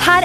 her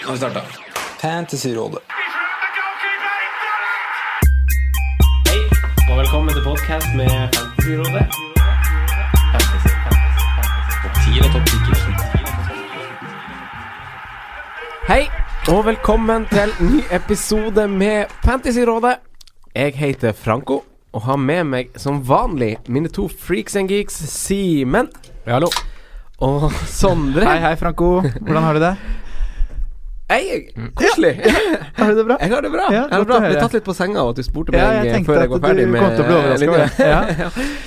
Nå har vi starta. Fantasyrådet. Og velkommen til podcast med Fantasyrådet. Hei, og velkommen til ny episode med Fantasyrådet. Jeg heter Franco, og har med meg som vanlig mine to freaks and geeks, Simen hallo. og Sondre. Hei, hei, Franco. Hvordan har du det? Hei, koselig. Har du det bra? Jeg har det bra. jeg Ja, har godt det bra. å høre. Ble tatt litt på senga av at du spurte Ja, meg jeg eh, tenkte før at jeg du var ferdig med kom til å bli overrasket linja. over det.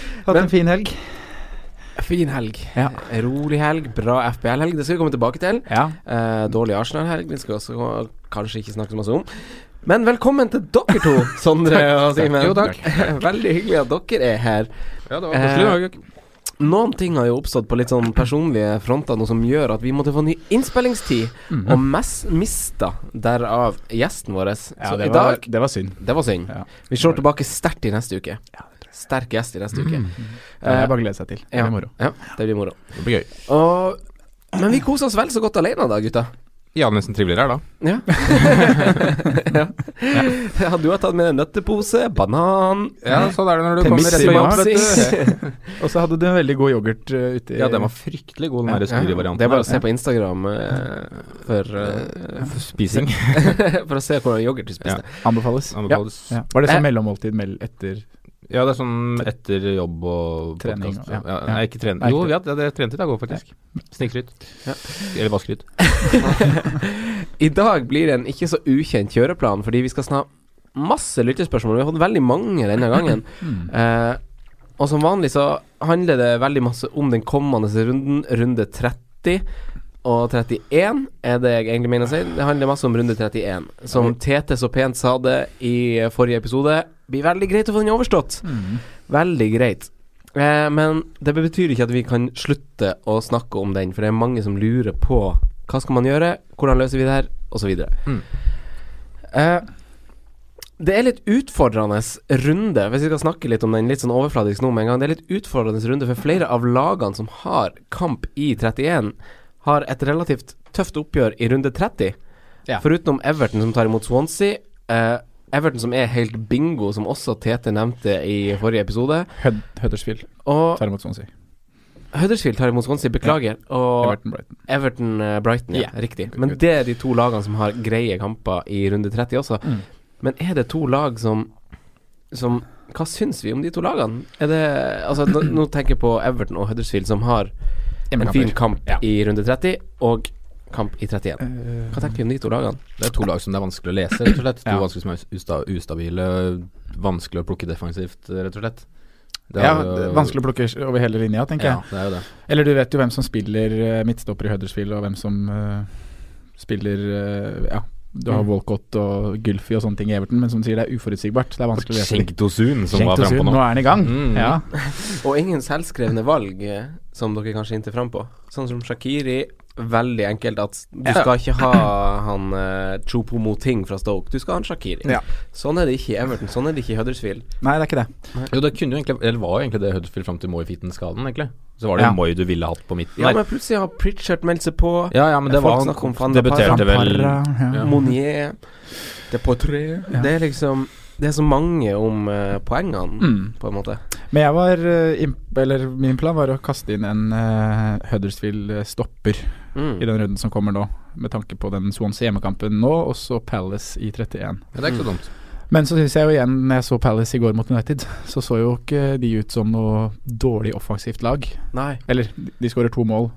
Ja. Hatt en fin helg. Fin helg. Ja. Rolig helg. Bra FBL-helg. Det skal vi komme tilbake til. Ja. Eh, dårlig Arsenal-helg. Det skal vi også kanskje ikke snakke så masse om. Men velkommen til dere to, Sondre og Simen. Jo, takk. Veldig hyggelig at dere er her. Ja, det var koselig, Noen ting har jo oppstått på litt sånn personlige fronter nå som gjør at vi måtte få ny innspillingstid, Mhm. og mest mista derav gjesten vår. så i det, var, dag det var synd. Det var synd. Ja. Vi slår tilbake sterkt i neste uke. Sterk gjest i neste uke. Mhm. Eh, Det er bare å glede seg til. Det Ja. blir moro. Ja, det blir moro. Det blir gøy. Og, men vi koser oss vel så godt alene da, gutta. Ja, det er nesten triveligere her, da. Ja. ja. ja. Du har tatt med deg nøttepose, banan Ja, sånn er det når du Pepsi kommer rett hjem, Max. vet du. Og så hadde du en veldig god yoghurt uh, ute i Ja, den var fryktelig god, den der Ja, skurrivarianten. Det er bare å se på Instagram eh, for, eh, Spising. for å se hvordan yoghurt du spiste. Anbefales. Anbefales. Ja. Ja. Var det sånn Eh. mellommåltid mell etter Ja, det er sånn etter jobb og Trening, podcast. ja. Ja, Ja. nei, ikke trening. Nei, Jo, ikke- ja, det, det trente i dag òg, faktisk. Snikskryt. Eller vaskryt. I dag blir det en ikke så ukjent kjøreplan, fordi vi skal snak- masse lyttespørsmål. Vi har fått veldig mange denne gangen. Eh, og som vanlig så handler det veldig masse om den kommende runden, runde 30. Og 31 er det jeg egentlig mener å si. Det handler masse om runde 31. Som Tete så pent sa det i eh, forrige episode, blir veldig greit å få den overstått. Veldig greit. Eh, men det betyr ikke at vi kan slutte å snakke om den, for det er mange som lurer på hva skal man gjøre, hvordan løser vi det her, osv. Mm. Eh, det er litt utfordrende runde, hvis vi skal snakke litt om den litt sånn overfladisk nå med en gang. Det er litt utfordrende runde, for flere av lagene som har kamp i 31, har et relativt tøft oppgjør i runde 30. Ja. Foruten Everton, som tar imot Swansea. Eh, Everton, som er helt bingo, som også Tete nevnte i forrige episode. Hud Huddersfield? Og Tar imot Swansea. Huddersfield tar imot Swansea, beklager. Og Everton Brighton. Everton-Brighton, ja, Ja. riktig. Men det er de to lagene som har greie kamper i runde 30 også. Mm. Men er det to lag som, som Hva syns vi om de to lagene? Er det Altså, nå, nå tenker jeg på Everton og Huddersfield, som har en fin kamp Ja. Eh, i runde 30 og kamp i 31. Hva tenker vi om de to lagene? Det er to lag som det er vanskelig å lese, rett og slett. To Ja. lag som er usta ustabile, vanskelig å plukke defensivt, rett og slett. Det Ja, er jo- det er vanskelig å plukke over hele linja, tenker Ja, jeg. det er jo det. Eller du vet jo hvem som spiller eh, midtstopper i Huddersfield, og hvem som eh, spiller eh, Ja, du har Mm. Walcott og Gylfi og sånne ting i Everton, men som du sier, det er uforutsigbart. Det er vanskelig å lese. de. Schenktosun som var Schenk og frampå Sund, nå. nå er han i gang. Mm. Ja. Og ingen selvskrevne valg, eh, som dere kanskje hinter fram på. Sånn som Shakiri. Veldig enkelt at du skal ikke ha han eh, Chopomoting fra Stoke, du skal ha han Shakiri. Ja. Sånn er det ikke i Everton, sånn er det ikke i Huddersfield. Nei, det er ikke det. Jo, det kunne jo egentlig Eller var jo egentlig det Huddersfield fram til Moy Fitten-skaden, egentlig. Så var det Ja. jo Moy du ville hatt på midten. Ja, der. men plutselig har Pritchard meldt seg på. Ja, ja, men det Folk var snakker om Van han der Parra. debuterte vel Parra, ja. Monier, Depotré Ja. Det er liksom Det er så mange om eh, poengene, Mm. på en måte. Men jeg var eh, imp Eller min plan var å kaste inn en eh, Huddersfield-stopper Mm. i den runden som kommer nå, med tanke på den Swans hjemmekampen nå, og så Palace i 31. Ja, Det er ikke så dumt. Men så syns jeg jo igjen, når jeg så Palace i går mot United, så så jo ikke de ut som noe dårlig offensivt lag. Nei. Eller, de skårer to mål.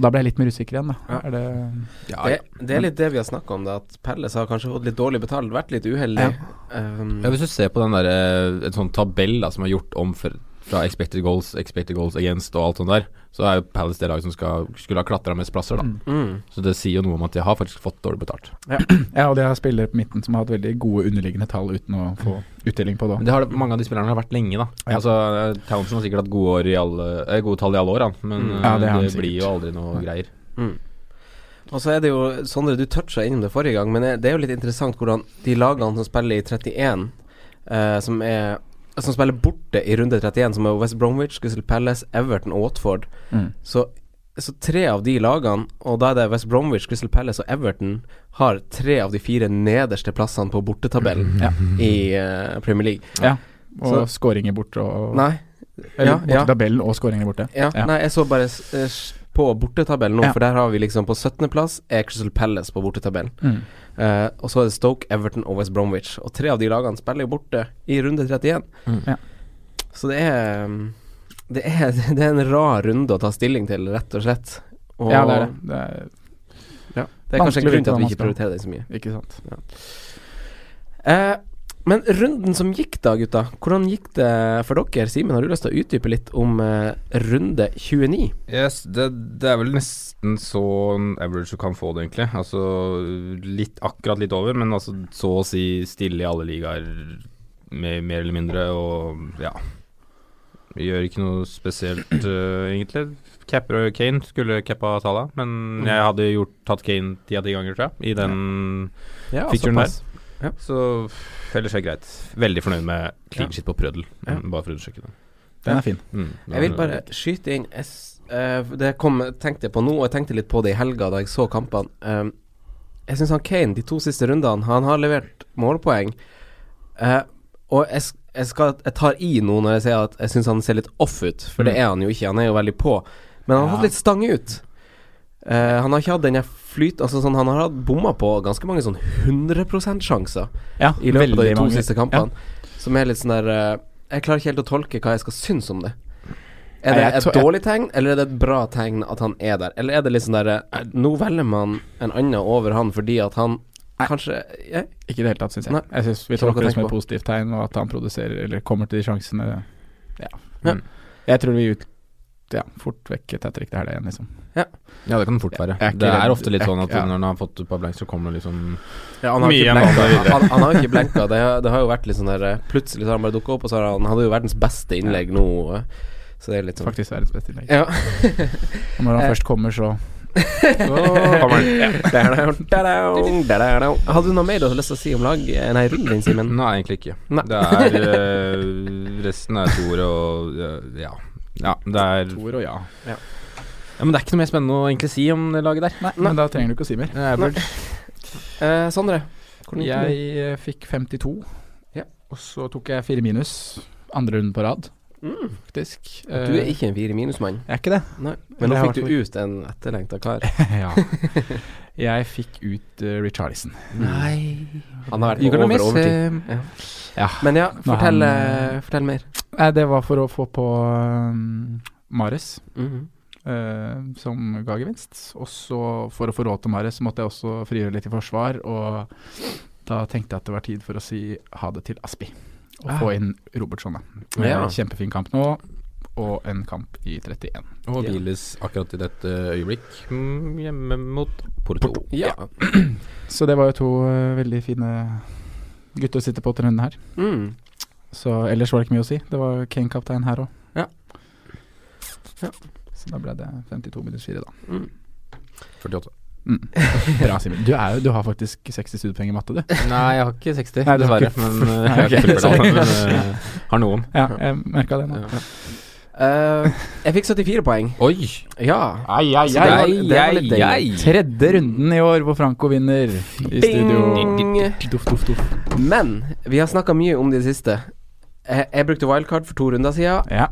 Da ble jeg litt mer usikker igjen, da. Ja. Er det Ja, Det, det er litt det vi har snakka om, det, at Pelles har kanskje fått litt dårlig betalt, vært litt uheldig. Um, Ja, hvis du ser på den der, eh, en sånn tabell da, som er gjort om for, fra expected goals, expected goals against og alt sånt der, så er jo Palace det laget som skal, skulle ha klatra mest plasser, da. mm. Så det sier jo noe om at de har faktisk fått dårlig betalt. Ja, og det er spillere på midten som har hatt veldig gode underliggende tall uten å få uttelling på det. Men det har, mange av de spillerne har vært lenge, da. Ja. Altså, eh, Townsend har sikkert hatt gode, år i alle, eh, gode tall i alle år, han. Men Mm. eh, Ja, det det, har han sikkert. blir jo aldri noe greier. Og så er det jo Sondre, du toucha innom det forrige gang, men det er jo litt interessant hvordan de lagene som spiller i 31, eh, som er som spiller borte i runde 31, som er West Bromwich, Crystal Palace, Everton og Watford. Mm. Så, så tre av de lagene, og da er det West Bromwich, Crystal Palace og Everton, har tre av de fire nederste plassene på bortetabellen Mm. Ja. i eh, Premier League. Ja. Og Så- skåringer borte og Nei, Eller ja, borte ja. tabellen og skåringer borte. Ja, Ja. nei, jeg så bare s- eh, s- på bortetabellen nå, Ja. for der har vi liksom på 17. plass er Crystal Palace på bortetabellen. Mm. Eh, og så er det Stoke, Everton og West Bromwich. Og tre av de lagene spiller jo borte i runde 31. Mm. Ja. Så det er mm, det er, det er en rar runde å ta stilling til, rett og slett. Og Ja, det er det. det er, ja, det er kanskje Vanskelig å vite grunnen til at vi hva man ikke skal. prioriterer det så mye. ikke sant. Eh, men runden som gikk da, gutta. Hvordan gikk det for dere? Simen, har du lyst til å utdype litt om eh, runde 29? Yes, det, det er vel nesten sånn average du kan få det, egentlig. Altså litt, akkurat litt over, men altså så å si stille i alle ligaer, mer, mer eller mindre, og ja. Vi gjør ikke noe spesielt, eh, egentlig. Capper og Kane skulle cappa Tala, Mm. men jeg hadde gjort, tatt Kane ti av ti ganger, tror jeg, i den Ja, Fikk du den der? såpass. Så ellers er det greit. Veldig fornøyd med clean shit på Prødel, Ja. Mm, bare for å undersøke det. Den er fin. Mm, Jeg vil bare skyte inn jeg s- eh, Det kom, tenkte jeg på nå, og jeg tenkte litt på det i helga da jeg så kampene. Eh, jeg syns han Kane, de to siste rundene, han har levert målpoeng. Eh, og jeg, s- jeg, skal, jeg tar i nå når jeg sier at jeg syns han ser litt off ut, for det er han jo ikke. Han er jo veldig på. Men han har hatt litt stang ut. Eh, han har ikke hatt den jeg flyt... Altså sånn, han har hatt bomma på ganske mange sånn 100 %-sjanser Ja, i løpet av de veldig to mange. siste kampene. Som er litt sånn der eh, Jeg klarer ikke helt å tolke hva jeg skal synes om det. Er det Nei, jeg et tror- jeg- dårlig tegn, eller er det et bra tegn at han er der? Eller er det litt sånn derre Nå velger man en annen over han fordi at han kanskje ja, Ikke i det hele tatt, syns jeg. Nei. Jeg syns vi Ikke noe å tolker det som tenke et på. positivt tegn, og at han produserer eller kommer til de sjansene. Ja. Ja. Mm. Jeg tror vi ut, ja, fort vekk tetter ikke det her det igjen, liksom. Ja, det kan det fort være. Jeg er ikke Det er redd. ofte litt Jeg er sånn ikke- at ja. når han har fått et par blanks, så kommer det liksom han, har Mye ikke igjen blenka. å ta han, han har ikke blenka. Det, har- det har jo vært litt sånn der eh, Plutselig så har han bare dukka opp, og så har han, han hadde jo verdens beste innlegg nå. eh, Så det er litt sånn Faktisk verdens beste innlegg. Ja. Og når han Eh. først kommer, så Da-da-da-da-da. Da-da-da-da. Hadde du noe mer du hadde lyst til å si om lag eh, Nei, runden din, Simen? Nei, egentlig ikke. Nei. Det er eh, Resten er Tor og eh, ja. Ja, det er Tor og ja. ja, Men det er ikke noe mer spennende å egentlig si om det laget der. Nei, men da trenger du ikke å si mer. Det er vel- Eh, Sondre? hvordan gikk det med Jeg eh, fikk 52, Ja. og så tok jeg fire minus andre runden på rad, Mm. faktisk. Du er Eh, ikke en fire minus-mann. Jeg er ikke det. Nei. Eller Men nå jeg fikk har du ut en etterlengta kar. ja. Jeg fikk ut uh, Richarlison. Nei Mm. Han har vært You på gonna over miss overtid. him. Ja. Ja. Men ja, fortell, han, eh, fortell mer. Nei, det var for å få på um, Mares. Mhm. eh, som ga gevinst. Og så for å få råd til Mares, så måtte jeg også frigjøre litt i forsvar. Og da tenkte jeg at det var tid for å si ha det til Aspi. Og få inn Robertsson, da. Ja. Eh, Kjempefin kamp nå, og en kamp i 31. Og Ja. hviles akkurat i dette øyeblikk mm, hjemme mot Porto. Ja. Så det var jo to eh, veldig fine gutter å sitte på til runden her. Mm. Så ellers var det ikke mye å si. Det var Kane-kaptein her òg. Ja. Ja. Så da ble det 52 minus 4, da. Mm. 48. Mm. Bra, Simen. Du, er jo- du har faktisk 60 studiepoeng i matte, du. Nei, jeg har ikke 60, Nei, du har dessverre. ikke- Men eh, Nei, ok, jeg følger sorry. alle, men eh, har noen. Ja, jeg merka det nå. Eh, jeg fikk 74 poeng. Oi! Ja. Ai, ai, Så det var- det var litt deilig. Tredje runden i år hvor Franco vinner i Bing! studio. Duff, duff, duff. Men vi har snakka mye om det siste. Jeg, jeg brukte wildcard for to runder siden Ja.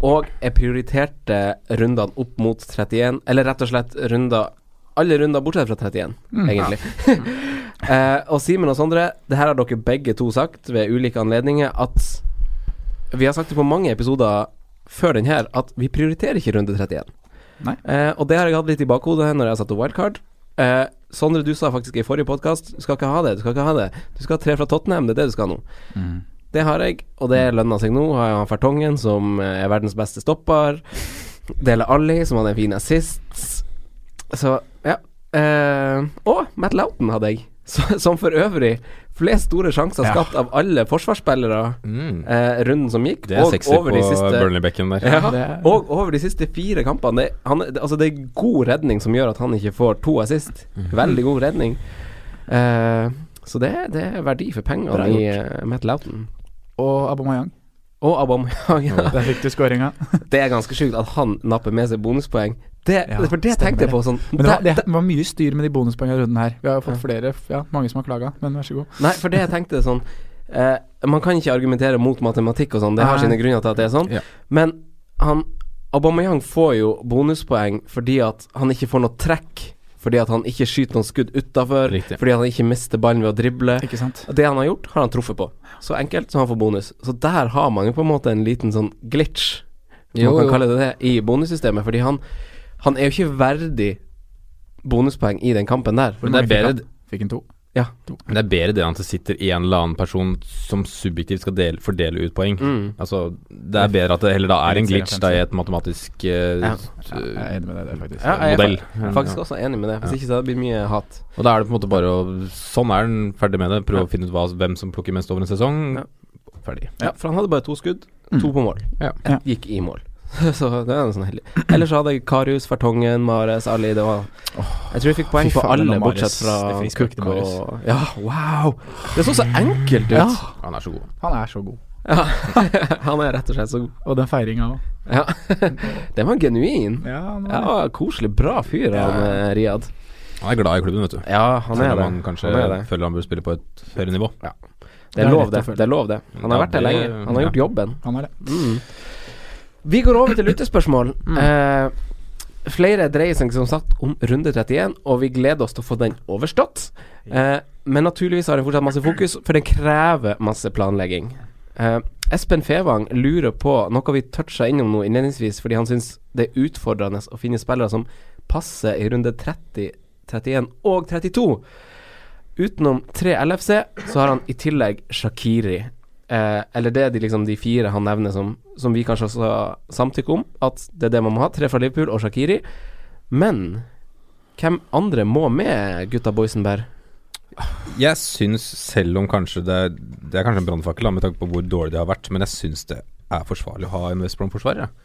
Og jeg prioriterte rundene opp mot 31, eller rett og slett runder Alle runder bortsett fra 31, egentlig. Eh, og Simen og Sondre, det her har dere begge to sagt ved ulike anledninger at Vi har sagt det på mange episoder før den her, at vi prioriterer ikke runde 31. Nei. Eh, og det har jeg hatt litt i bakhodet når jeg har satt opp wildcard. Eh, Sondre, du sa faktisk i forrige podkast du skal ikke ha det, du skal ikke ha det. Du skal ha tre fra Tottenham, det er det du skal ha nå. Mm. Det har jeg, og det lønna seg nå. Har jeg han Fertongen, som eh, er verdens beste stopper. Dele Alli, som hadde en fin assist. Så, ja. Eh, og Matt Loughton hadde jeg, Så- som for øvrig flest store sjanser Ja. skapt av alle forsvarsspillere Mm. eh, runden som gikk. Det er sexy på Burnley-bekken der. Ja, det- og over de siste fire kampene. Det, han, det, altså det er god redning som gjør at han ikke får to assist. Mhm. Veldig god redning. Eh, så det, det er verdi for pengene i eh, Matt Loughton. Og Abomayang. Og Aubameyang. Der fikk du skåringa. Det er ganske sjukt at han napper med seg bonuspoeng. Det, Ja, for det tenkte jeg på sånn Men det var, der- det var mye styr med de bonuspoengene i runden her. Vi har jo fått flere, ja, mange som har klaga, men vær så god. Nei, for det jeg tenkte sånn eh, Man kan ikke argumentere mot matematikk og sånn, det har Nei. sine grunner til at det er sånn, Ja. men han Aubameyang får jo bonuspoeng fordi at han ikke får noe trekk, fordi at han ikke skyter noen skudd utafor, Riktig. fordi at han ikke mister ballen ved å drible. Ikke sant? Det han har gjort, har han truffet på. Så enkelt, så han får bonus. Så der har man jo på en måte en liten sånn glitch, om man Jo, jo. kan kalle det det, i bonussystemet, fordi han, han er jo ikke verdig bonuspoeng i den kampen der. Men det er bedre Fikk en to. Ja. Men Det er bedre det enn at det sitter en eller annen person som subjektivt skal del, fordele ut poeng. Mm. Altså, det er bedre at det heller da er en glitch da i et matematisk eh, Ja. s- Ja, jeg er enig med deg der, faktisk. Ja, jeg er modell. fa- faktisk også enig med det. Hvis ikke så hadde det blitt mye hat. Og da er det på en måte bare å Sånn er den ferdig med det. Prøve å finne ut hva, hvem som plukker mest over en sesong. Ja. Ferdig. Ja, For han hadde bare to skudd. To på mål. Ja. Ja. Ett gikk i mål. så det er en sånn heldig. Ellers så hadde jeg Karius, Fertongen, Mares, Ali. Det var Jeg tror jeg fikk poeng fy på faen, alle, det var Mahrez. bortsett fra Det frisparket Cook til og Mahrez. Ja, wow! Det så så enkelt ut. Ja. Han er så god. Han er så god. Ja. han er rett og slett så god. Og den feiringa òg. Ja. Den var genuin. Ja, han var det. Ja, koselig. Bra fyr, han eh, Riyad. Han er glad i klubben, vet du. Ja, han Selv er om det. han kanskje Han er det. føler han bør spille på et høyere nivå. Det Det er er lov, lett å det. følge. Det er lov, det. Han har Ja, vært der det- lenge. Han har gjort ja. jobben. Han er det. Vi går over til lyttespørsmål. Eh, flere dreier seg som sagt om runde 31, og vi gleder oss til å få den overstått. Eh, men naturligvis har den fortsatt masse fokus, for den krever masse planlegging. Eh, Espen Fevang lurer på noe vi toucha innom nå innledningsvis, fordi han syns det er utfordrende å finne spillere som passer i runde 30, 31 og 32. Utenom tre LFC, så har han i tillegg Shakiri. Eh, eller det er de, liksom, de fire han nevner som, som vi kanskje også samtykker om, at det er det man må ha. Tre fra Liverpool og Shakiri. Men hvem andre må med, gutta Boysenberg? Jeg syns, selv om kanskje det er, det er kanskje en brannfakkel da, med tanke på hvor dårlig det har vært, men jeg syns det er forsvarlig å ha en West Brom-forsvarer. jeg.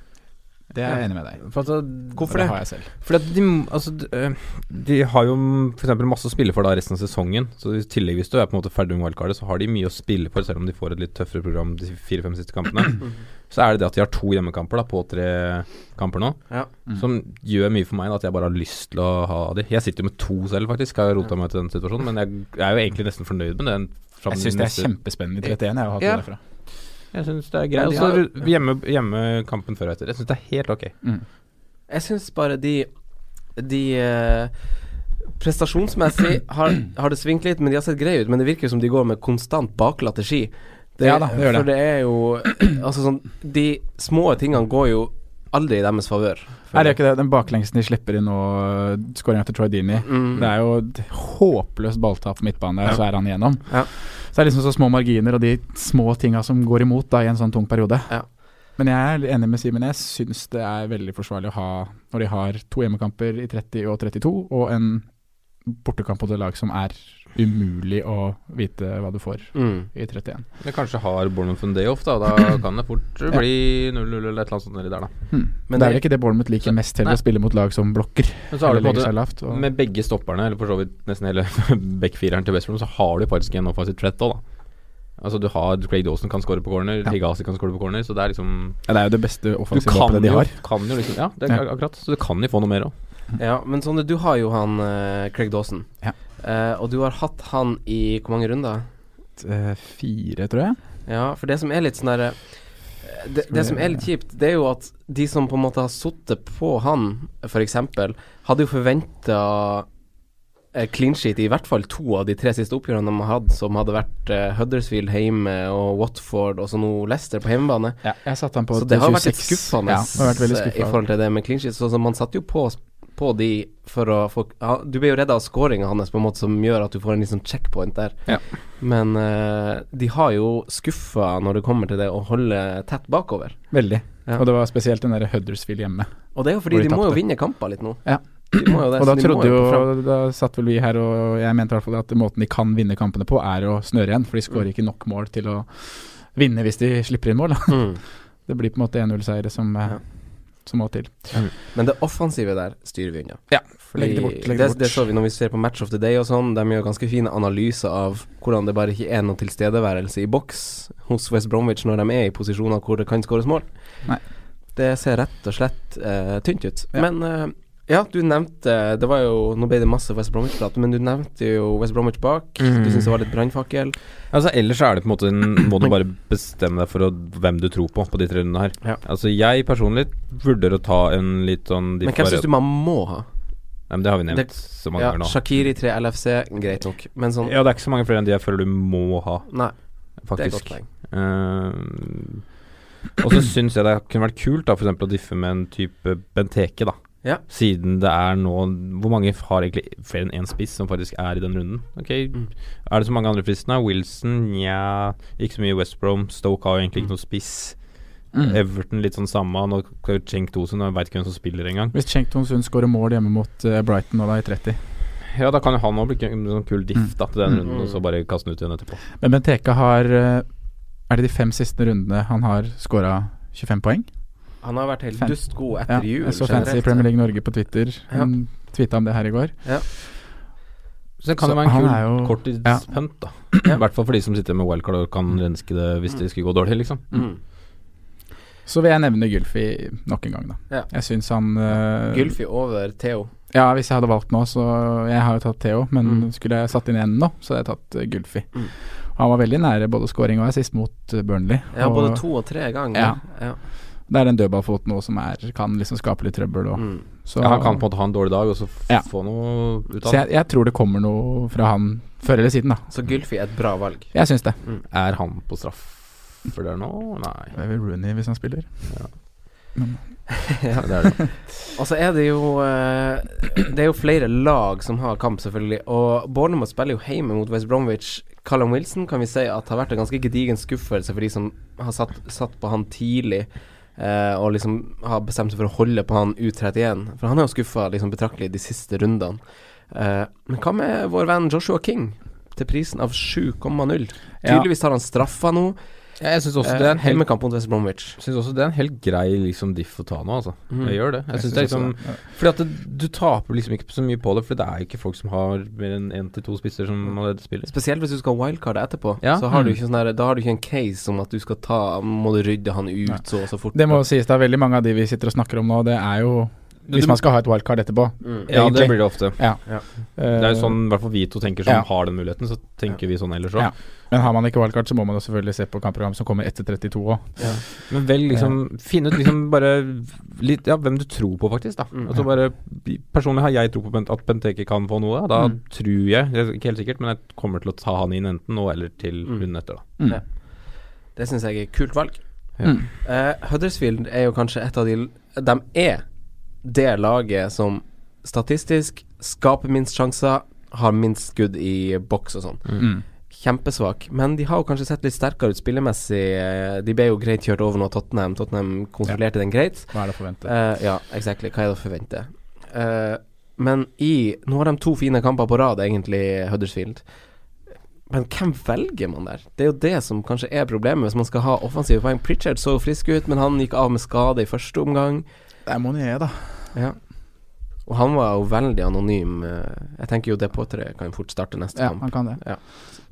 Det er jeg enig med deg i. For altså, hvorfor Det det? har jeg selv. Fordi at de, altså, d- eh, de har jo f.eks. masse å spille for da resten av sesongen. Så i tillegg hvis du er på en måte ferdig med wildcardet, så har de mye å spille for, selv om de får et litt tøffere program de fire-fem siste kampene. Mm. Så er det det at de har to hjemmekamper da, på tre kamper nå, Ja. som gjør mye for meg da, at jeg bare har lyst til å ha de. Jeg sitter jo med to selv, faktisk. Jeg har rota meg til den situasjonen, men jeg, jeg er jo egentlig nesten fornøyd med den. fram Jeg til syns det er neste- kjempespennende i 31, jeg har hatt Ja. det derfra. Jeg syns det er greit. Og så ru- hjemme, hjemmekampen før og etter. Jeg syns det er helt ok. Mm. Jeg syns bare de De eh, Prestasjonsmessig har, har det svingt litt, men de har sett greie ut. Men det virker som de går med konstant baklatte ski. Det, Ja da, det gjør det. For det er jo Altså sånn De små tingene går jo aldri i deres favør. Nei, det er ikke det. Den baklengsen de slipper inn nå, skåringa til Troy Deeney Mm. Det er jo et håpløst balltap på midtbanen, der, og så er han igjennom. Ja. Så det er liksom så små marginer og de små tinga som går imot da, i en sånn tung periode. Ja. Men jeg er enig med Simen. Jeg syns det er veldig forsvarlig å ha, når de har to hjemmekamper i 30 og 32, og en bortekamp mot et lag som er umulig å vite hva du får Mm. i 31. Men kanskje har Bournemouth en day off, da. Da kan det fort bli 0-0 eller et eller annet sånt nedi der, da. Men det er vel ikke det Bournemouth liker Så- mest, heller nei. å spille mot lag som blokker. Men så har eller du på legger en seg måte lavt, og- Med begge stopperne, eller for så vidt nesten hele backfireren til West Brom, så har du faktisk en offensive threat òg, da. Altså du har Craig Dawson kan score på corner, Higazi kan score på corner, så det er liksom Ja, det er jo det beste Du offensive kan våpenet de jo, har. kan jo liksom Ja, det er Ja. akkurat. Så du kan jo få noe mer òg. Ja, men Sondre, du har jo han eh, Craig Dawson. Ja. Eh, og du har hatt han i hvor mange runder? Eh, Fire, tror jeg. Ja, for det som er litt sånn derre eh, det, det som er litt kjipt, det er jo at de som på en måte har sittet på han, f.eks., hadde jo forventa eh, clean sheet i hvert fall to av de tre siste oppgjørene de har hatt, som hadde vært eh, Huddersfield hjemme og Watford og så nå Leicester på hjemmebane. Ja, jeg satte han på Så det har vært litt 26. skuffende Ja, det har vært veldig eh, i skuffende. forhold til det med clean sheet. Så, så man satte jo på, på de for å få ja, Du ble jo redd av scoringa hans på en måte som gjør at du får en liksom checkpoint der. Ja. Men eh, de har jo skuffa når det kommer til det å holde tett bakover. Veldig. Ja. Og det var spesielt den der Huddersfield hjemme. Og det er jo Hvor fordi de de, må tapte. jo vinne kamper litt nå. Ja. De må jo det, Og da så de må trodde jo, på fram- da satt vel vi her, og jeg mente i hvert fall at måten de kan vinne kampene på, er å snøre igjen. For de skårer ikke nok mål til å vinne hvis de slipper inn mål. Da. Mm. Det blir på en måte 1-0-seiere som, eh, Ja. som må til. Men det offensive der styrer vi unna. Ja, Fordi legg det bort, legg det det, bort. det så vi når vi ser på Match of the Day og sånn. De gjør ganske fine analyser av hvordan det bare ikke er noen tilstedeværelse i boks hos West Bromwich når de er i posisjoner hvor det kan skåres mål. Nei. Det ser rett og slett eh, tynt ut. Ja. Men eh, ja, du nevnte Det var jo Nå ble det masse West Bromwich-prat, men du nevnte jo West Bromwich bak. Mm. Du syns det var litt brannfakkel. Altså, ellers er det på en måte en, må du bare bestemme deg for å, hvem du tror på på de tre rundene her. Ja. Altså, jeg personlig vurderer å ta en litt sånn de Men hvem får- syns du man må ha? Nei, men Det har vi nevnt Det- så mange Ja, ganger nå. Shakiri 3 LFC, greit nok, men sånn Ja, det er ikke så mange flere enn de jeg føler du må ha, Nei, faktisk. det er et godt poeng. Eh, og så syns jeg det kunne vært kult da, for eksempel, å diffe med en type Benteke, da. Ja. Siden det er nå Hvor mange har egentlig flere enn én spiss som faktisk er i den runden? Ok, Mm. Er det så mange andre fristende? Wilson, nja Ikke så mye West Brom. Stoke har jo egentlig Mm. ikke noe spiss. Everton litt sånn samme. Nå Cenk Tosun, jeg veit ikke hvem som spiller engang. Hvis Chenkton Sund skårer mål hjemme mot eh, Brighton nå da i 30 Ja, da kan jo han òg bli en sånn kul diff da, til den Mm. runden, og så bare kaste den ut igjen etterpå. Men Benteke har eh, Er det de fem siste rundene han har skåra 25 poeng? Han har vært helt Fan- dustgod Ja, etter jul. jeg så Fancy generelt. Premier League Norge på Twitter. Ja. Hun tvittet om det her i går. Så det kan Så jo være en han kul er jo- korttidspunt, da. I hvert fall for de som sitter med wildcard og kan Mm. renske det hvis det skulle gå dårlig, liksom. Mm. Så vil jeg nevne Gylfi nok en gang, da. Ja. Jeg syns han eh, Gylfi over Theo. Ja, hvis jeg hadde valgt nå, så Jeg har jo tatt Theo, men Mm. skulle jeg satt inn en nå, så hadde jeg tatt eh, Gylfi. Mm. Han var veldig nære både scoring og assist mot eh, Burnley. Ja, og både to og tre ganger. Ja. Ja. Det er den dødballfoten nå som er, kan liksom skape litt trøbbel. Og, Mm. så Ja, han kan på en måte ha en dårlig dag, og så f Ja. få noe ut så av det. jeg, jeg tror det kommer noe fra han før eller siden, da. Så Gylfi er et bra valg. Jeg syns det. Er han på straff for det nå? Nei. Det er vel Rooney hvis han spiller. Ja, det er det. Og så er det jo eh, Det er jo flere lag som har kamp, selvfølgelig. Og Bournemouth spiller jo hjemme mot West Bromwich. Callum Wilson kan vi si at har vært en ganske gedigen skuffelse for de som har satt, satt på han tidlig. eh, og liksom har bestemt seg for å holde på han U31. For han er jo skuffa liksom, betraktelig de siste rundene. Eh, men hva med vår venn Joshua King? Til prisen av 7,0. Ja. Tydeligvis tar han straffa nå. Ja, jeg syns også Eh, det er en helt Hjemmekamp mot West Bromwich. Synes også det er en helt grei liksom, diff å ta nå, altså. Mm. Jeg gjør det. Jeg Jeg synes synes det er også liksom Fordi at det, du taper liksom ikke så mye på det, for det er jo ikke folk som har mer enn én til to spisser som allerede spiller. Spesielt hvis du skal ha wildcard etterpå. Ja. Mm. Så har du ikke sånn der, da har du ikke en case om at du skal ta Må du rydde han ut så og så fort. Det må jo sies, da. Veldig mange av de vi sitter og snakker om nå, det er jo Hvis man skal ha et wildcard etterpå. Mm. ja, det egentlig. blir det ofte. Det er jo sånn i hvert fall vi to tenker som Ja. har den muligheten, så tenker vi sånn ellers òg. Ja. Eh, Men har man ikke wildcard, så må man jo selvfølgelig se på kampprogram som kommer etter 32 òg. Men vel liksom finne ut liksom bare litt Ja, hvem du tror på, faktisk, da. Mm. Altså bare Personlig har jeg tro på Bent, at Benteke kan få noe. Da Mm. tror jeg, det er ikke helt sikkert, men jeg kommer til å ta han inn enten nå eller til Mm. runden etter, da. Mm. Ja. Det syns jeg er et kult valg. Ja. Mm. Eh, Huddersfield er jo kanskje et av de De er det laget som statistisk skaper minst sjanser, har minst skudd i boks og sånn. Mm. Kjempesvak. Men de har jo kanskje sett litt sterkere ut spillemessig. Eh, De ble jo greit kjørt over nå av Tottenham. Tottenham kontrollerte den greit. Hva er det å forvente? Eh, ja, exactly. Hva er det å forvente? Eh, men i Nå har de to fine kamper på rad, egentlig, Huddersfield. Men hvem velger man der? Det er jo det som kanskje er problemet hvis man skal ha offensive poeng. Pritchard så frisk ut, men han gikk av med skade i første omgang. Det er Monier, da. Og han var jo veldig anonym. eh, Jeg tenker jo det påtreet kan fort starte neste Ja, kamp. han kan det. Ja.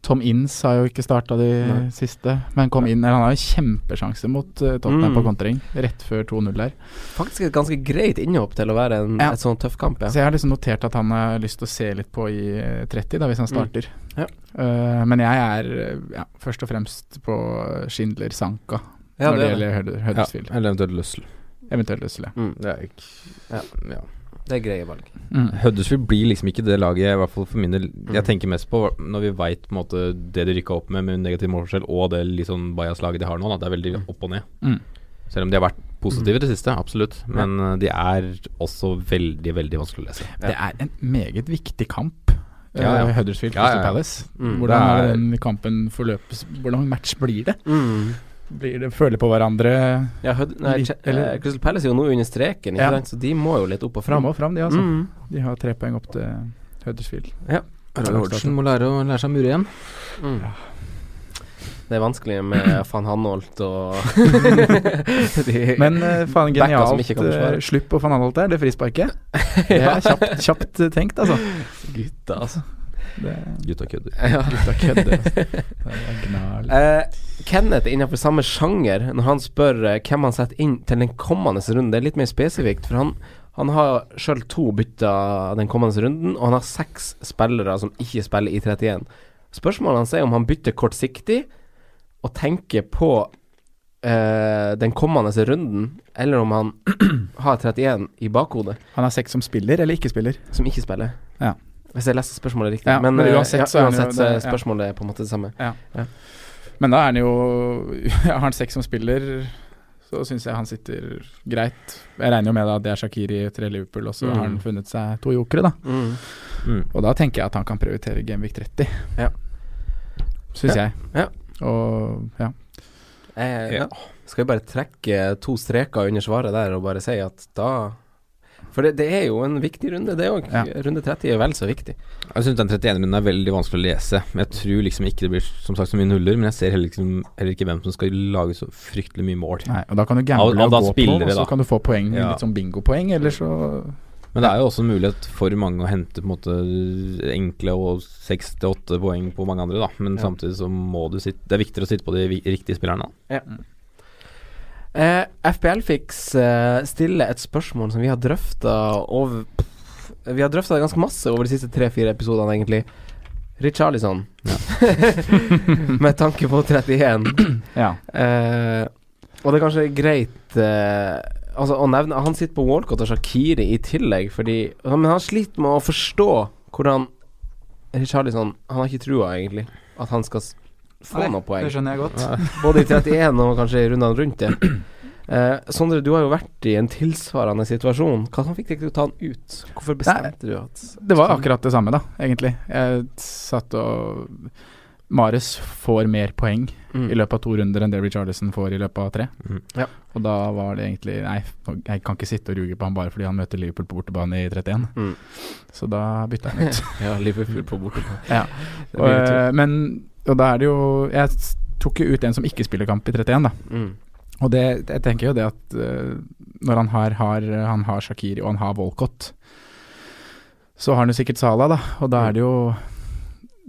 Tom Inns har jo ikke starta de Nei. siste, men kom inn eller Han har jo kjempesjanse mot eh, Tottenham Mm. på kontring, rett før 2-0 der. Faktisk et ganske greit innhopp til å være en, Ja. et sånn tøff kamp, ja. Så jeg har liksom notert at han har lyst til å se litt på i eh, 30, da, hvis han Mm. starter. Ja. Eh, men jeg er eh, ja, først og fremst på Schindler Sanka Ja, det er når det det. gjelder Hud- Huddersfield. eller eventuelt Lussel. Eventuelt Øssle. Mm. Det er ikke Ja. ja. Det er greie valg. Huddersfield blir liksom ikke det laget jeg, i hvert fall for min del, Mm. jeg tenker mest på når vi veit det de rykka opp med med negativ målforskjell, og det litt sånn bajas-laget de har nå. Da. Det er veldig opp og ned. Mm. Selv om de har vært positive i det siste, absolutt. Men eh, de er også veldig, veldig vanskelig å lese. Det er en meget viktig kamp. Ja, ja. eh, Huddersfield Ja, ja, Crystal ja. Palace. Mm, Hvordan det er er- den kampen forløpes Hvordan match blir det? Mm. Blir det Føler på hverandre Ja, Hud nei, Litt, Ch- eh, eller- Crystal Palace er jo nå under streken, ikke Ja. sant? så de må jo litt opp og fram fram. og fram, de altså. Mm. De har tre poeng opp til Huddersfield. altså. Roy Hodgson må lære å lære seg å mure igjen. Mm. Det er vanskelig med van Hanholt og de, Men eh, faen Backa som genialt ikke kan forsvare. eh, slupp på van Anholt der, det frisparket. Det er kjapt, kjapt eh, tenkt, altså. Gutta, altså. Det, Gutta kødder. Ja. gutta kødder. altså. Det er gnarl. Eh, Kenneth er innenfor samme sjanger når han spør eh, hvem han setter inn til den kommende runden. Det er litt mer spesifikt, for han, han har sjøl to bytter den kommende runden, og han har seks spillere som ikke spiller i 31. Spørsmålet hans er om han bytter kortsiktig og tenker på eh, den kommende runden, eller om han har 31 i bakhodet, Han er seks som spiller, eller ikke spiller? som ikke spiller. Ja. Hvis jeg leser spørsmålet riktig. Ja, men men eh, uansett ja, så er han jo uansett så er det- ja. spørsmålet på en måte det samme. Men da er han jo Har han seks som spiller, så syns jeg han sitter greit. Jeg regner jo med da at det er Shakiri, tre Liverpool, og så Mm. har han funnet seg to jokere, da. Mm. Og da tenker jeg at han kan prioritere Genvik 30. Ja. Syns jeg. Ja. Og ja. Eh, Ja. Skal vi bare trekke to streker under svaret der og bare si at da For det, det er jo en viktig runde, det òg. Ja. Runde 30 er vel så viktig. Jeg syns den 31 min er veldig vanskelig å lese. Men Jeg tror liksom ikke det blir som sagt så mye nuller, men jeg ser heller, liksom, heller ikke hvem som skal lage så fryktelig mye mål. Nei, og da kan du Av- gamble og av da gå på, spillere, og så da. kan du få poeng, Ja. litt sånn bingopoeng, eller så Men det er jo også en mulighet for mange å hente på en måte enkle og seks til åtte poeng på mange andre, da. Men Ja. samtidig så må du sitte Det er viktigere å sitte på de vi- riktige spillerne. da. Eh, FPL-fiks eh, stiller et spørsmål som vi har drøfta over pff, Vi har drøfta det ganske masse over de siste tre-fire episodene, egentlig. Richarlison. Med tanke på 31. Ja. Eh, og det er kanskje greit eh, altså, å nevne Han sitter på Walcott og Shakiri i tillegg, fordi ja, Men han sliter med å forstå hvordan Richarlison Han har ikke trua, egentlig, at han skal s- få noe poeng. Det skjønner jeg godt. Både i 31 og kanskje i rundene rundt det. Eh, Sondre, du har jo vært i en tilsvarende situasjon. Hva som fikk deg til å ta han ut? Hvorfor bestemte du at Det var akkurat det samme, da, egentlig. Jeg satt og Mares får mer poeng Mm. i løpet av to runder enn det Richarlison får i løpet av tre. Mhm. Ja. Og da var det egentlig Nei, jeg kan ikke sitte og ruge på han bare fordi han møter Liverpool på bortebane i 31. Mhm. Så da bytta jeg han ut. Ja, Liverpool på bortebane. Ja. Det og, blir litt eh, men Og da er det jo Jeg s- tok jo ut en som ikke spiller kamp i 31, da. tungt. Mm. Og det, jeg tenker jo det at eh, når han har, har, han har Shakiri og han har Walcott, så har han jo sikkert Salah, da. Og da er det jo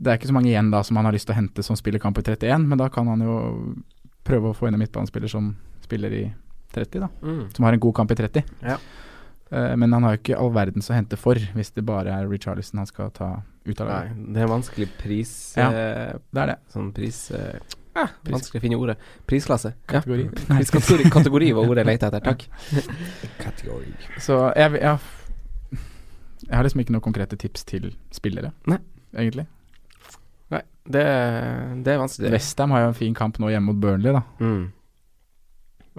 Det er ikke så mange igjen da som han har lyst til å hente som spiller kamp i 31, men da kan han jo prøve å få inn en midtbanespiller som spiller i 30, da. Mm. Som har en god kamp i 30. Ja. Eh, men han har jo ikke all verdens å hente for, hvis det bare er Richarlison han skal ta ut Nei, av laget. det er vanskelig pris Ja. eh, Det er det. Sånn pris eh, Vanskelig å finne ordet. Prisklasse. Ah, Kategori. Ja. Nei. Priskategori kategori var ordet jeg lette etter. Takk. Så jeg, jeg, jeg har liksom ikke noen konkrete tips til spillere, Nei. egentlig. Nei, det, det er vanskelig. Westham har jo en fin kamp nå hjemme mot Burnley, da. Mm.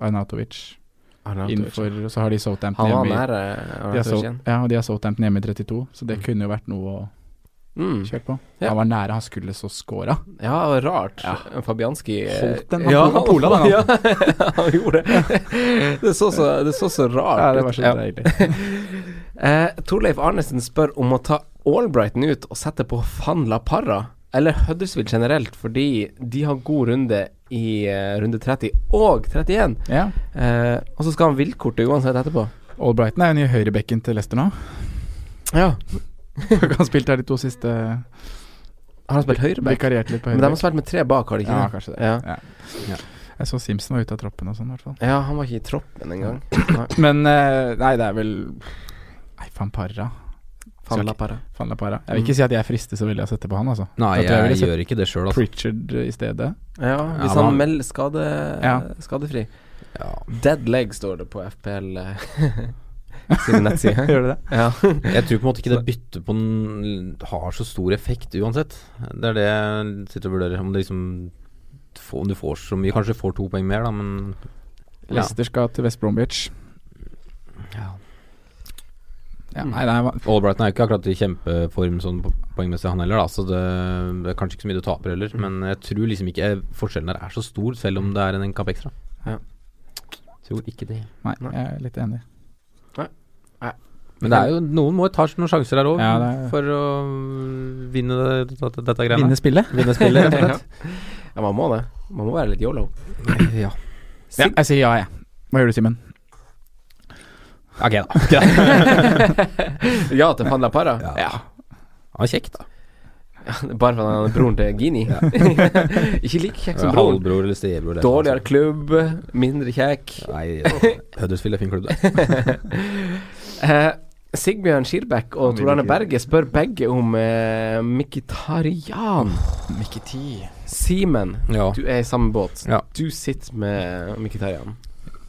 Arnatovic. Arnautovic. Innenfor, så har de Southampton Han var hjemme i nære de har Arnautovic Sout- igjen. ja, og de har Southampton hjemme i 32, så det kunne jo vært noe å Mm. kjøre på. Ja. Han var nære han skulle så scora. Ja, det var rart. Fabianski eh, Holdt den, han pola- han pola den, Ja, han gjorde det. Det så så, det så, så rart Ja, det var så Ja. deilig. Eh, Torleif Arnesen spør om å ta Albrighton ut og sette på Van La Parra, eller Huddersfield generelt, fordi de har god runde i eh, runde 30 og 31. Ja. Eh, og så skal han viltkortet uansett etterpå. Albrighton er jo nye høyrebekken til Leicester nå. Ja. Han har spilt her de to siste Har han spilt høyreback? Vikariert litt på Men de har høyrebekk. spilt med tre bak, har de ikke Ja, det? kanskje det. Ja. Ja. Jeg så Simpson var ute av troppen og sånn, i hvert fall. ja, han var ikke i troppen engang. Nei, Men eh, nei, det er vel Nei, van Parra. Van La Parra. Van La Parra. Jeg vil ikke si at jeg frister så veldig av å sette på han, altså. Nei, Da tror jeg jeg, ville sett gjør ikke det sjøl, altså. Pritchard i stedet. Ja, hvis men han han- melder skade, Ja. skadefri. Ja. Dead leg står det på FPL. eh. sine nettsider. Gjør det det? Ja. Jeg tror på en måte ikke det byttet på den har så stor effekt uansett. Det er det jeg sitter og vurderer. Om, det liksom, får- om du får så mye Kanskje du får to poeng mer, da, men ja. Leicester skal til West Bromwich. Ja. Ja, Mm. nei, nei, hva- Albrighton er jo ikke akkurat i kjempeform sånn po- poengmessig, han heller, da. Så det, det er kanskje ikke så mye du taper heller. Men jeg tror liksom ikke forskjellen der er så stor, selv om det er en kamp ekstra. Ja. Tror ikke det. nei, jeg er litt enig. Men det er jo noen må ta noen sjanser her òg, Ja, det er- for å vinne det- dette, dette greiene. Vinne spillet? Vinne spillet, rett og ja. slett. ja, man må det. Man må være litt yolo. Ja. Ja, jeg sier ja, jeg. Hva gjør du, Simen? Ok, da. Greit. Ja til Fadla Para? Ja. Ja. Ja, kjekt, da. Bare fordi han er broren til Gini. Ikke like kjekk som broren. Halvbror eller stebror. eller Dårligere noe sånt. klubb, mindre kjekk. Nei, Huddersfield er fin klubb, det. Eh, Sigbjørn Skirbekk og Han vil Tor Arne ikke. Berge spør begge om eh, Mkhitaryan. Simen, Ja. du er i samme båt. Ja. Du sitter med Mkhitaryan.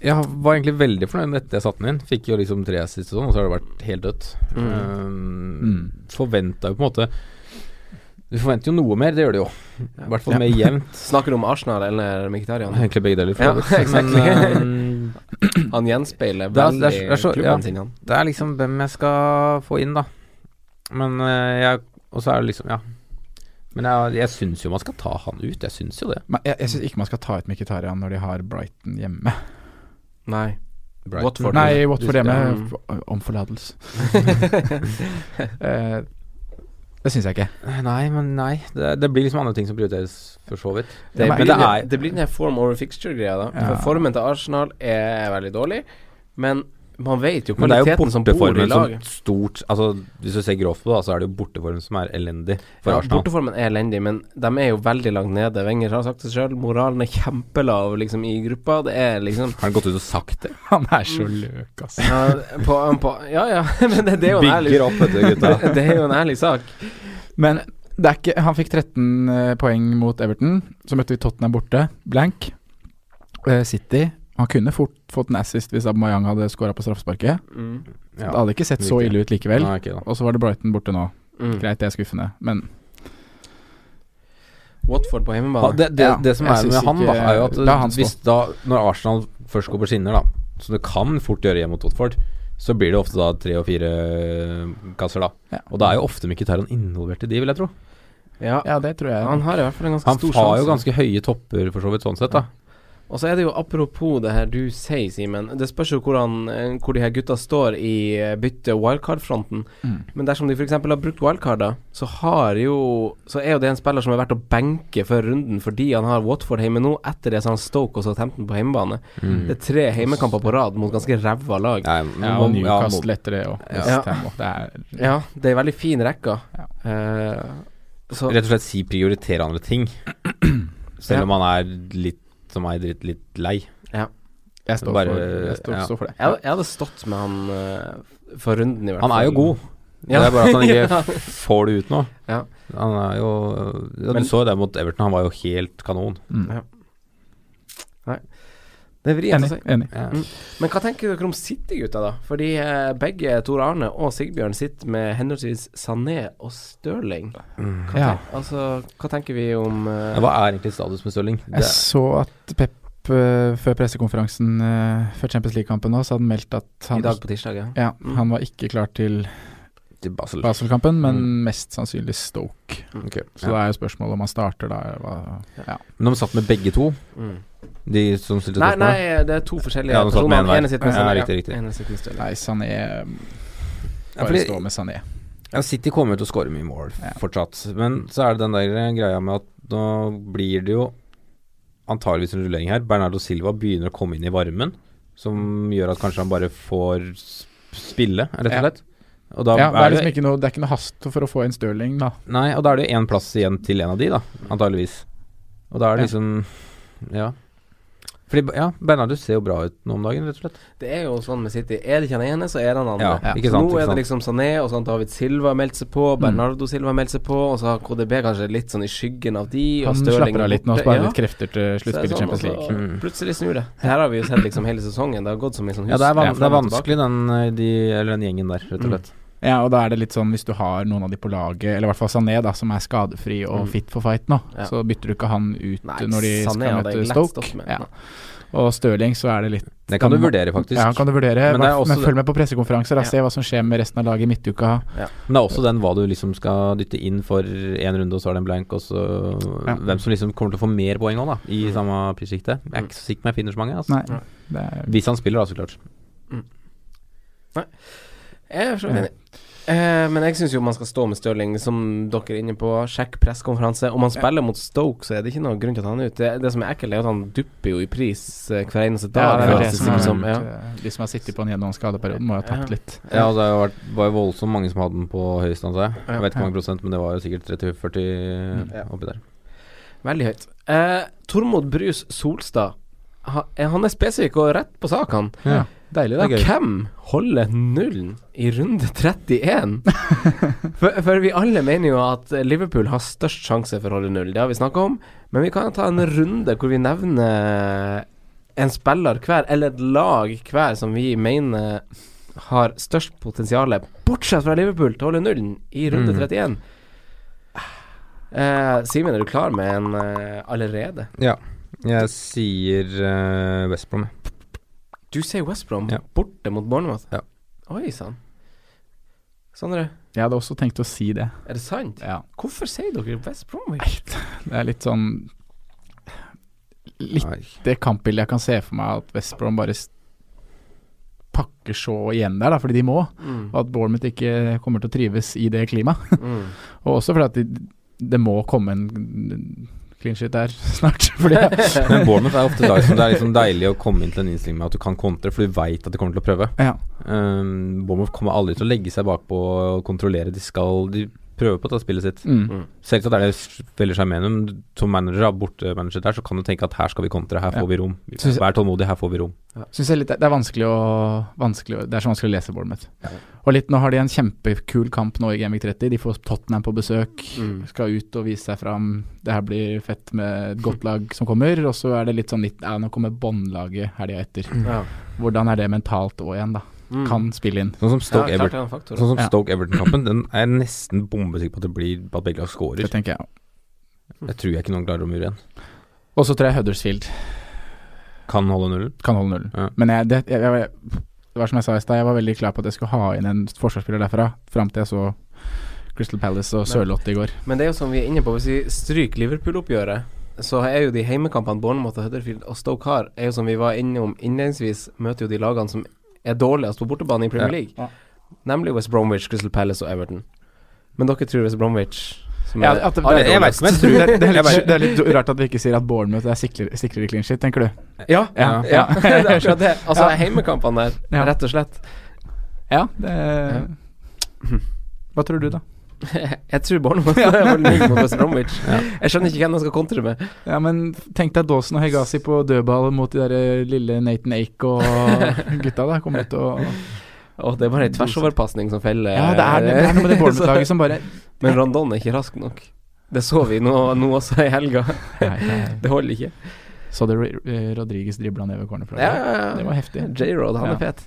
Jeg var egentlig veldig fornøyd med dette jeg satte den inn. Fikk jo liksom tre assist og sånn, og så har det vært helt dødt. Mm. Mm. Forventa jo på en måte Du forventer jo noe mer, det gjør du jo. I hvert fall mer jevnt. Snakker du om Arsenal eller Mkhitaryan? Egentlig begge deler. for Ja, så vidt. exactly. Men, eh, Han gjenspeiler Det er- veldig det er- det er så- klubben ja. sin, han. det er liksom hvem jeg skal få inn, da. Men eh, jeg Og så er det liksom Ja. Men jeg, jeg syns jo man skal ta han ut. Jeg syns jo det. Men jeg jeg syns ikke man skal ta ut Mkhitarian når de har Brighton hjemme. Nei. Brighton. Watford. Nei, Watford hjemme. Mm. f- Om forlatelse. Eh, det syns jeg ikke. Nei, men nei. Det, det blir liksom andre ting som prioriteres, for så vidt. Det men blir- det, er, det blir den her form over fixture-greia, da. Ja. For formen til Arsenal er veldig dårlig, men man vet jo Men det er jo kvaliteten som bor i borteformen som laget. stort Altså Hvis du ser grovt på det, da, så er det jo borteformen som er elendig for Ja, Arsenal. borteformen er elendig, men de er jo veldig langt nede. Wenger har sagt det sjøl, moralen er kjempelav liksom, i gruppa. Det er liksom Har han gått ut og sagt det? Han er så Mm. løk, ass. Ja, på, på, ja, ja, men det, det er jo en ærlig Bygger opp, vet du, gutta. det er jo en ærlig sak. Men det er ikke, han fikk 13 eh, poeng mot Everton. Så møtte vi Tottenham borte, blank. Eh, City Han kunne fort fått en assist hvis Aubameyang hadde skåra på straffesparket. Mm. Ja. Det hadde ikke sett så Riktig. ille ut likevel. Nei, ok, da. Og så var det Brighton borte nå. Mm. Greit, det er skuffende, men Watford på Ja, hjemmebane. det, det, Ja, det som jeg er synes med han, ikke- da, er jo at La han stå. hvis da Når Arsenal først går på skinner, da, som det kan fort gjøre hjemme mot Watford, så blir det ofte da tre og fire eh, kasser, da. Ja. Og da er jo ofte Mkhitaryan involvert i de, vil jeg tro. Ja. Ja, det tror jeg. Han har i hvert fall en ganske Han stor har jo sjanse. ganske høye topper, for så vidt, sånn sett, da. Og så er det jo apropos det her du sier, Simen. Det spørs jo hvordan, eh, hvor de her gutta står i eh, bytte- og wildcard-fronten. Mm. Men dersom de f.eks. har brukt wildcarder, så, har jo, så er jo det en spiller som er verdt å benke før runden fordi han har Watford hjemme nå. Etter det så har han Stoke og Southampton på hjemmebane. Det er tre hjemmekamper på rad mot ganske ræva lag. Nei, ja, må- og Mm. ja, må- Newcastle etter det òg. Ja. Det er Ja, det er en veldig fin rekke. Eh, så rett og slett si prioritere andre ting. Selv om han er litt som meg, dritt litt lei. Jeg står Bare- for, jeg står ja. står for det. jeg, jeg hadde stått med han eh, for runden, i hvert Han fall. er jo god, Ja. det er bare at han Ja. ikke f- får det ut nå. Ja. Han er jo ja, Du Men- så jo det mot Everton, han var jo helt kanon. Det er vrient å si. Enig. enig. Ja. Men hva tenker dere om City-gutta, da? Fordi eh, begge Tor Arne og Sigbjørn sitter med henholdsvis Sané og Stirling. Hva, Ja. tenk, altså, hva tenker vi om eh, Mm. Hva er egentlig status med Stirling? Det- Jeg så at Pep eh, før pressekonferansen eh, før Champions League-kampen nå, så hadde han meldt at han i dag på tirsdag? Ja. Ja, han var ikke klar til til Basel. Basel-kampen, men mest sannsynlig Stoke. Ok. Så det er jo spørsmålet om han starter da. Hva, ja. Men de satt med begge to, de som Mm. stilte Nei, nei, spørsmålet? det er to forskjellige Ja, de satt med en personer. hver. Ene sitter med Ja, Sané, riktig, riktig. ene sitter med Stirling. Nei, Sané Ja, Bare fordi- stå med Sané. Ja, City kommer jo til å skåre mye mål Ja. fortsatt. Men så er det den der greia med at nå blir det jo antageligvis en rullering her. Bernardo Silva begynner å komme inn i varmen, som gjør at kanskje han bare får s- spille, rett Ja. og slett. Og da Ja, det, er det liksom ikke noe, det er ikke noe hast for å få en Stirling, da. Nei, og da er det jo én plass igjen til en av de, da, antageligvis. Og da er det liksom Ja. Fordi, ja, Bernardo ser jo bra ut nå om dagen, rett og slett. Det er jo sånn med City. Er det ikke han ene, så er det han andre. Ja, ja. Ikke sant, nå ikke er det sant. liksom Sané, og så har David Silva meldt seg Mm. på, Bernardo Silva meldt seg på, og så har KDB kanskje litt sånn i skyggen av de, og Han Stirling slapper av litt nå og borte. Ja. sparer litt krefter til Så er sluttspillet det i sånn, Champions League. og Mm. så Plutselig snur det. Det her har vi jo sett liksom hele sesongen. Det har gått som en sånn Ja, det er, van hus- det er fram og tilbake. vanskelig, den, eh, de, eller den gjengen der, Mm. rett og slett. Ja, og da er det litt sånn hvis du har noen av de på laget, eller i hvert fall Sané, da, som er skadefri og Mm. fit for fight nå, Ja. så bytter du ikke han ut Nei, når de Sané skal hadde jeg møte lett Stoke. stått med. Ja. Og Stirling, så er det litt Det kan du vurdere, faktisk. Ja, han kan du vurdere. Men Men, det er også men det- følg med på pressekonferanser, Ja. da. Se hva som skjer med resten av laget i midtuka. Men det er også den hva du liksom skal dytte inn for én runde, og så er det en blank, og så Ja. Hvem som liksom kommer til å få mer poeng òg, da, i samme prissjikte. Jeg er ikke så sikker på om jeg finner så mange. Altså. Nei, det er Hvis han spiller, da, så klart. Jeg er for så vidt enig. Eh, men jeg syns jo man skal stå med Stirling, som dere er inne på. Sjekk pressekonferanse. Om han spiller mot Stoke, så er det ikke noen grunn til at han er ute. Det, det som er ekkelt, er at han dupper jo i pris eh, hver eneste ja, dag. det er føles det som er, som, sånn. ja. De som har sittet på den gjennom skadeperioden, må jo ha tapt litt. Ja, og det har jo vært, var jo voldsomt mange som hadde den på høyest, antar jeg. Ja. Jeg vet ikke hvor mange prosent, men det var jo sikkert 30-40 Mm. oppi der. Veldig høyt. Eh, Tormod Brus Solstad. Ha, eh, han er spesifikk og rett på sak, han. Ja. Deilig, Og Hvem holder nullen i runde 31? for, for vi alle mener jo at Liverpool har størst sjanse for å holde null, det har vi snakka om. Men vi kan ta en runde hvor vi nevner en spiller hver, eller et lag hver, som vi mener har størst potensial, bortsett fra Liverpool, til å holde nullen i Mm. runde 31. Eh, Simen, er du klar med en eh, allerede? Ja. Jeg sier eh, West Brom, jeg. Du sier West Brom Ja. borte mot Bournemouth. Ja. Oi sann. Sondre, Jeg hadde også tenkt å si det. er det sant? Ja. Hvorfor sier dere West Bromwich? Det er litt sånn Litt Nei. det kampbildet jeg kan se for meg at West Brom bare s- pakker så igjen der, da, fordi de må. Og at Bournemouth ikke kommer til å trives i det klimaet. Mm. Og også fordi at de, det må komme en clean shit der snart. Fordi Men Bournemouth er ofte lag som det er liksom deilig å komme inn til en innstilling med at du kan kontre, for du veit at de kommer til å prøve. ja. Um, Bournemouth kommer aldri til å legge seg bakpå og kontrollere. De skal De prøver på å ta spillet sitt. Mm. Selvsagt er det s- veldig sjarmerende, men som manager, da, bortemanager der, så kan du tenke at her skal vi kontre, her får vi rom. Synes- Vær tålmodig, her får vi rom. Synes jeg litt, det er vanskelig å, vanskelig å Det er så vanskelig å lese Bournemouth. Og litt, nå har de en kjempekul kamp nå i Gamvik 30. De får Tottenham på besøk. Mm. Skal ut og vise seg fram. Det her blir fett med et godt lag som kommer. Og så er det litt sånn litt, ja, Nå kommer båndlaget helga etter. Ja. Mm. Hvordan er det mentalt òg igjen, da? Kan spille inn. Sånn som Stoke ja, klart det Everton. er en faktor. Sånn som Ja. Stoke Everton-kampen, den er jeg nesten bombesikker på at det blir at begge lag scorer. Det tenker jeg. Jeg tror jeg ikke noen klarer å mure igjen. Og så tror jeg Huddersfield Kan holde nullen. kan holde nullen. Ja. Men jeg, det, jeg, jeg, det var som jeg sa i stad, jeg var veldig klar på at jeg skulle ha inn en forsvarsspiller derfra, fram til jeg så Crystal Palace og Sørloth i går. Men det er jo som vi er inne på, hvis vi stryker Liverpool-oppgjøret, så er jo de heimekampene Bournemouth og Huddersfield og Stoke har, er jo som vi var innom innledningsvis, møter jo de lagene som er dårligst på bortebane i Premier League. Ja. Nemlig West Bromwich, Crystal Palace og Everton. Men dere tror West Bromwich som Ja, er at det- aller det- jeg vet ikke, men jeg tror- dårligst. Det, det, er Jeg litt, bare- det er litt rart at vi ikke sier at Bournemouth er sikrere, sikrere clean shit, tenker du? Ja, Ja. ja. det er akkurat det. Altså, Ja. heimekampene Ja. der, rett og slett. Ja, det Hva tror du, da? Jeg tror Bournemouth holder null mot West Bromwich. Jeg skjønner ikke hvem de skal kontre med. Ja, men Tenk deg Dawson og Hegazi på dødball mot de der eh, lille Nathan Ake og gutta. da Kommer ut og Åh, det er bare en tversoverpasning som feller. Ja, det er, det er noe med det Bournemouth-laget som bare Men Rondon er ikke rask nok. Det så vi nå, nå også i helga. Nei, det Det holder ikke. er- Så du Rodriguez dribla nedover cornerflagget? Det var heftig. J-Road, han Ja. er fet.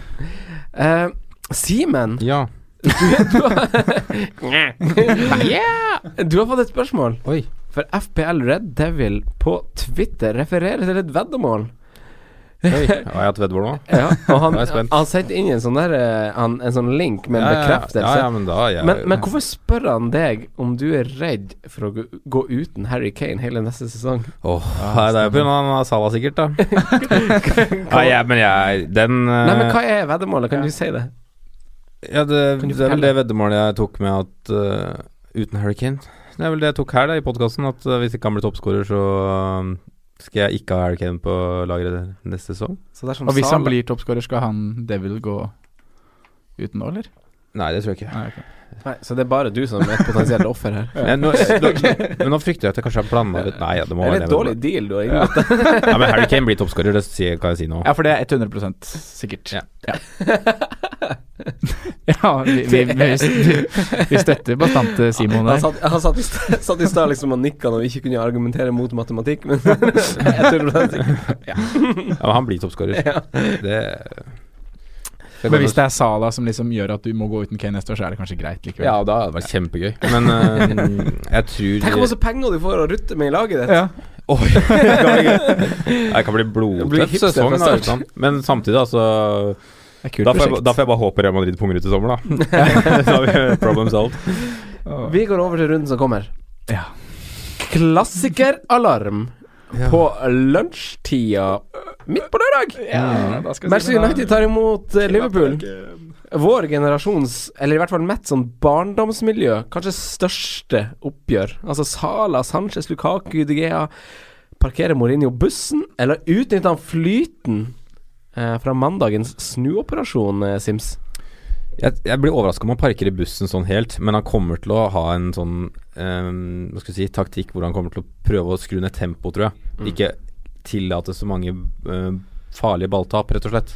Eh, Simen, Ja. du har fått et spørsmål. Oi. For FPL Red Devil på Twitter refererer til et veddemål. Oi. Har jeg hatt veddemål nå? Ja, og han, Nå er jeg spent. han sendte inn en sånn, der, eh, han, en sånn link med en Ja, ja, ja. bekreftelse. Ja, ja, men da er jeg Men, men hvorfor spør han deg om du er redd for å gå gå uten Harry Kane hele neste sesong? Åh, nei, det er jo pga. Salah sikkert, da. Nei, jeg- men jeg Den eh, Nei, men hva er veddemålet? Kan du si det? Ja, det, Kan du det er vel fortelle? det veddemålet jeg tok med at eh, uten Hurricane Det er vel det jeg tok her da i podkasten, at eh, hvis ikke han blir toppskårer, så eh, skal jeg ikke ha Hurricane på lageret neste sesong. Så sånn dersom Og hvis Salah- han blir toppskårer, skal han Devil gå uten nå, eller? Nei, det tror jeg ikke. Nei, ok. Nei, så det er bare du som er et potensielt offer her. Men nå, nå- men nå frykter jeg at jeg kanskje har blanda ut Nei, ja, det må Det er være litt dårlig deal du har inngått. Nei, men Harry Kane blir toppskårer, det sier- kan jeg si nå. Ja, for det er 100 sikkert. Ja. ja. Ja, vi, vi, vi, vi støtter bastant eh, Simon Han der. satt, han satt i st- satt i stad liksom og nikka når vi ikke kunne argumentere mot matematikk, men jeg tror det er sikkert. Ja, men han blir toppskårer. Det Men hvis det er Sala som liksom gjør at du må gå uten Kane neste år, så er det kanskje greit likevel. Ja, da hadde det vært kjempegøy. Men eh, jeg tror Tenk hvor masse penger du får å rutte med i laget ditt. Ja. Oi, det kan bli- det kan bli blir blodtøff hipster sesong, fra da. start. ikke sant? Men samtidig, altså Det er kult da får, jeg, prosjekt. da får jeg bare håpe Real Madrid punger ut i sommer, da. da har vi problem solved. Vi går over til runden som kommer. Ja. Klassikeralarm på lunsjtida midt på lørdag. Manchester United tar imot eh, Liverpool. Vår generasjons, eller i hvert fall mitt sånn barndomsmiljø, kanskje største oppgjør. Altså Sala, Sanchez, Lukaku, Digea. Parkerer Mourinho bussen, eller utnytter han flyten eh, fra mandagens snuoperasjon, eh, Sims? Jeg, jeg blir overraska om han parker i bussen sånn helt, men han kommer til å ha en sånn ehm, hva skal jeg si, taktikk hvor han kommer til å prøve å skru ned tempoet, tror jeg. Ikke tillate så mange eh, farlige balltap, rett og slett.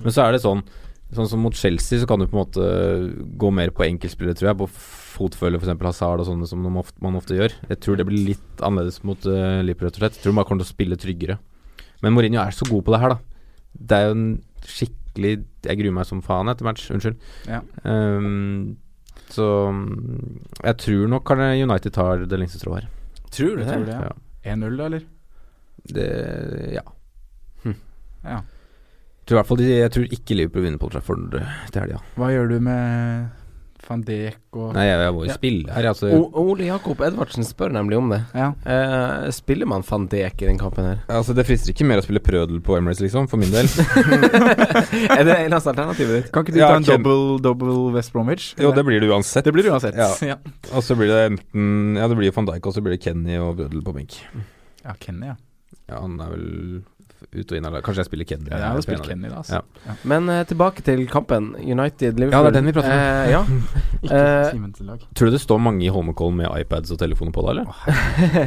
Men så er det sånn Sånn som mot Chelsea, så kan du på en måte gå mer på enkeltspillere, tror jeg. På fotfølge, f.eks. Hazard og sånne som man ofte, man ofte gjør. Jeg tror det blir litt annerledes mot uh, Liverpool, rett og slett. Jeg tror man kommer til å spille tryggere. Men Mourinho er så god på det her, da. Det er jo en skikkelig Jeg gruer meg som faen etter match. Unnskyld. Ja. Ehm, så mm, jeg tror nok kan United tar det lengste strået her. Tror Jeg tror det, ja. Ja. 1-0, da, eller? Det, ja. Ja. Tror i hvert fall de, jeg tror ikke Liverpool vinner på Old Trafford eh, til helga. Hva gjør du med van Dijk og Nei, jeg, jeg må jo Ja. spille her, altså. O Ole Jakob Edvardsen spør nemlig om det. Ja. Eh, spiller man van Dijk i den kampen her? altså. Det frister ikke mer å spille Prødel på Emirates, liksom, for min del. Er det eneste alternativet ditt? Kan ikke du Ja, ta en Ken- double, double West Bromwich? jo, det blir det uansett. Det blir det uansett. Ja. Ja. Og så blir det enten Ja, det blir van Dijk, og så blir det Kenny og Prødel på benk. Ja, Kenny, ja. Ja, han er vel ut og inn eller Kanskje jeg spiller Kenny. ja jeg hadde på en spilt av de. Kenny da, altså. Men eh, tilbake til kampen. United-Liverpool. Ja, det er den vi prater om. Eh, ja. Eh, Simen til lag. Tror du det står mange i Holmenkollen med iPads og telefoner på da, eller? Det,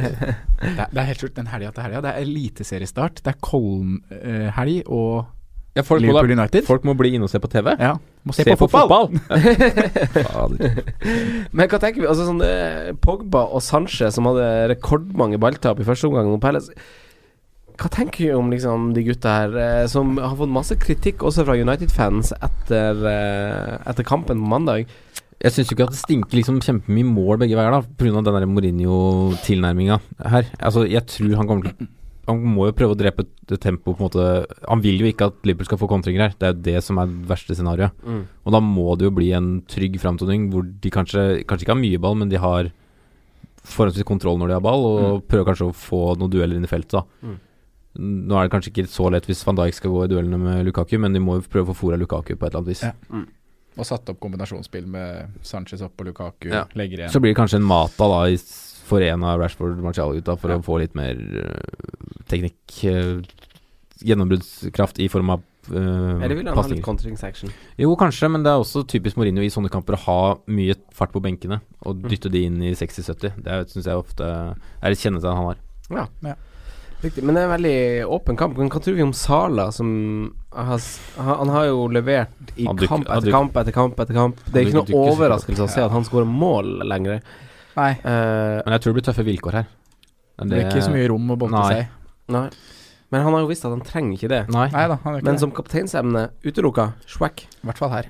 er- det er helt sjukt. Den helga til helga. Det er eliteseriestart. Det er Kollen-helg og Ja, folk, må Liverpool da, United. folk må bli inne og se på TV. ja. Må Se, på, fotball! Fader. men hva tenker vi? Altså sånn eh, Pogba og Sanchez, som hadde rekordmange balltap i første omgang mot Palace. Hva tenker vi om liksom, de gutta her, eh, som har fått masse kritikk også fra United-fans etter, eh, etter kampen på mandag? Jeg syns jo ikke at det stinker liksom kjempemye mål begge veier, da, pga. den der Mourinho-tilnærminga her. Altså, jeg tror han kommer til Han må jo prøve å drepe det tempoet, på en måte. Han vil jo ikke at Liverpool skal få kontringer her. Det er jo det som er det verste scenarioet. Mm. Og da må det jo bli en trygg framtoning hvor de kanskje, kanskje ikke har mye ball, men de har forholdsvis kontroll når de har ball, og prøver kanskje å få noen dueller inn i feltet, da. Mm. Nå er det kanskje ikke så lett hvis van Dijk skal gå i duellene med Lukaku, men de må jo prøve å få fora Lukaku på et eller annet vis. Ja. Og satt opp kombinasjonsspill med Sanchez opp og Lukaku. Ja. Legger igjen. Så blir det kanskje en Mata da i s- forena Rashford og Martial ut da, for å få litt mer øh, teknikk. øh, gjennombruddskraft i form av øh, Eller vil han ha litt pasninger. contringsaction? Jo, kanskje, men det er også typisk Mourinho i sånne kamper å ha mye fart på benkene Mm. og dytte de inn i 60-70. Det syns jeg ofte er et kjennetegn han har. Riktig, men det er en veldig åpen kamp. Men hva tror vi om Sala, som har, s- han han har jo levert i Han dukker- kamp han etter dukker- kamp etter kamp etter kamp. Det er Han ikke dukker- noe dukker så- overraskelse å se at han skårer mål lenger. Nei. Eh, Men jeg tror det blir tøffe vilkår her. Det blir ikke så mye rom å boltre Nei. seg. nei. Men han har jo visst at han trenger ikke det. Nei. Nei da, han gjør ikke Men det. som kapteinsemne utelukka. Schwack. I hvert fall her.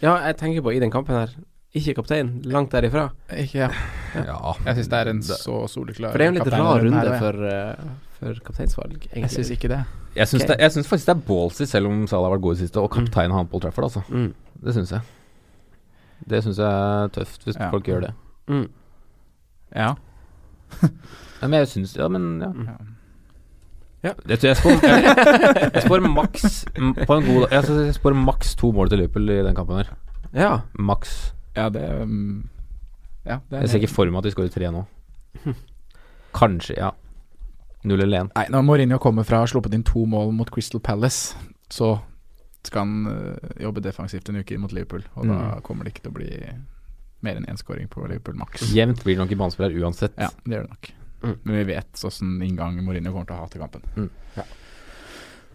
Ja, jeg tenker på i den kampen her. Ikke kaptein, langt derifra. Ikke, ja. Ja. Jeg syns det er en Det- så soleklar For det er jo en litt kaptein i rar den her, runde og jeg- for, eh, for kapteinsvalg, egentlig. Jeg syns ikke det. Jeg syns Ok. det- jeg syns faktisk det er ballsy, selv om Salah har vært god i det siste, og kapteinen han på Old Trafford, altså. Mm. Det syns jeg. Det syns jeg er tøft, hvis Ja. folk gjør det. Mm. Ja. Ja, men jeg syns Ja, men ja. Ja. ja. Jeg, tror jeg, spår, jeg, jeg spår maks m- På en god dag Jeg, jeg spår maks to mål til Liverpool i den kampen her. Ja. Maks. Ja, det um, Ja, det Jeg ser ikke for meg at de skårer tre nå. Kanskje, ja. Null eller én. Nei, når Mourinho kommer fra å ha sluppet inn to mål mot Crystal Palace, så godt kan eh, jobbe defensivt en uke inn mot Liverpool. Og da Mm. kommer det ikke til å bli mer enn én scoring på Liverpool maks. Jevnt blir det nok i banespiller uansett. Ja, det gjør det nok. Mm. Men vi vet åssen inngang Mourinho kommer til å ha til kampen.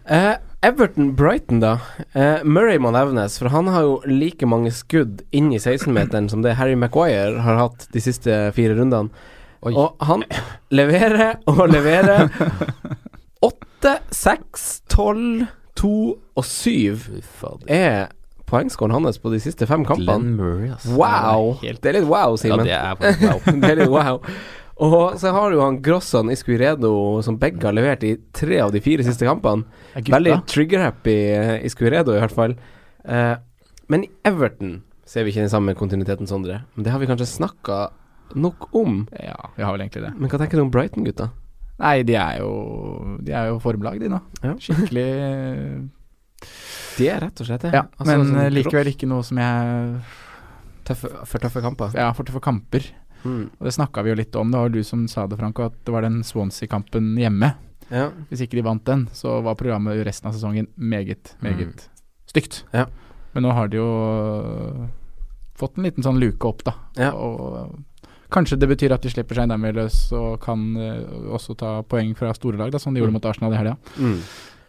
Eh, Everton-Brighton, da. Eh, Murray må nevnes, for han har jo like mange skudd inn i 16-meteren som det Harry Maguire har hatt de siste fire rundene. Oi. Og han leverer og leverer. 8, 6, 12, 2 og 7 er poengskåren hans på de siste fem kampene. Glenn Murray, altså. Wow! Det er helt- Det er litt wow, Ja, Simen. det er faktisk wow. det er litt wow. Og så har du han Grossan Iscuiredo, som begge har levert i tre av de fire siste kampene. Veldig trigger-happy eh, Iscuiredo, i hvert fall. Eh, men i Everton ser vi ikke den samme kontinuiteten, Sondre. Men det har vi kanskje snakka nok om. Ja, vi har vel egentlig det. Men hva tenker du om Brighton, gutta? Nei, de er jo De er jo formlag, de nå. Ja. Skikkelig De er rett og slett det. Ja, Altså, men sånn eh, likevel gross- ikke noe som jeg tøffe, For tøffe kamper. Ja, for tøffe kamper. Mm. Og det snakka vi jo litt om. Det var jo du som sa det, Franco, at det var den Swansea-kampen hjemme. Ja. Hvis ikke de vant den, så var programmet resten av sesongen meget, meget stygt. Mm. Ja. Men nå har de jo øh, fått en liten sånn luke opp, da. Ja. Og kanskje det betyr at de slipper seg nærmere løs og kan eh, også ta poeng fra store lag, da, som de gjorde mot Arsenal i helga. Mm.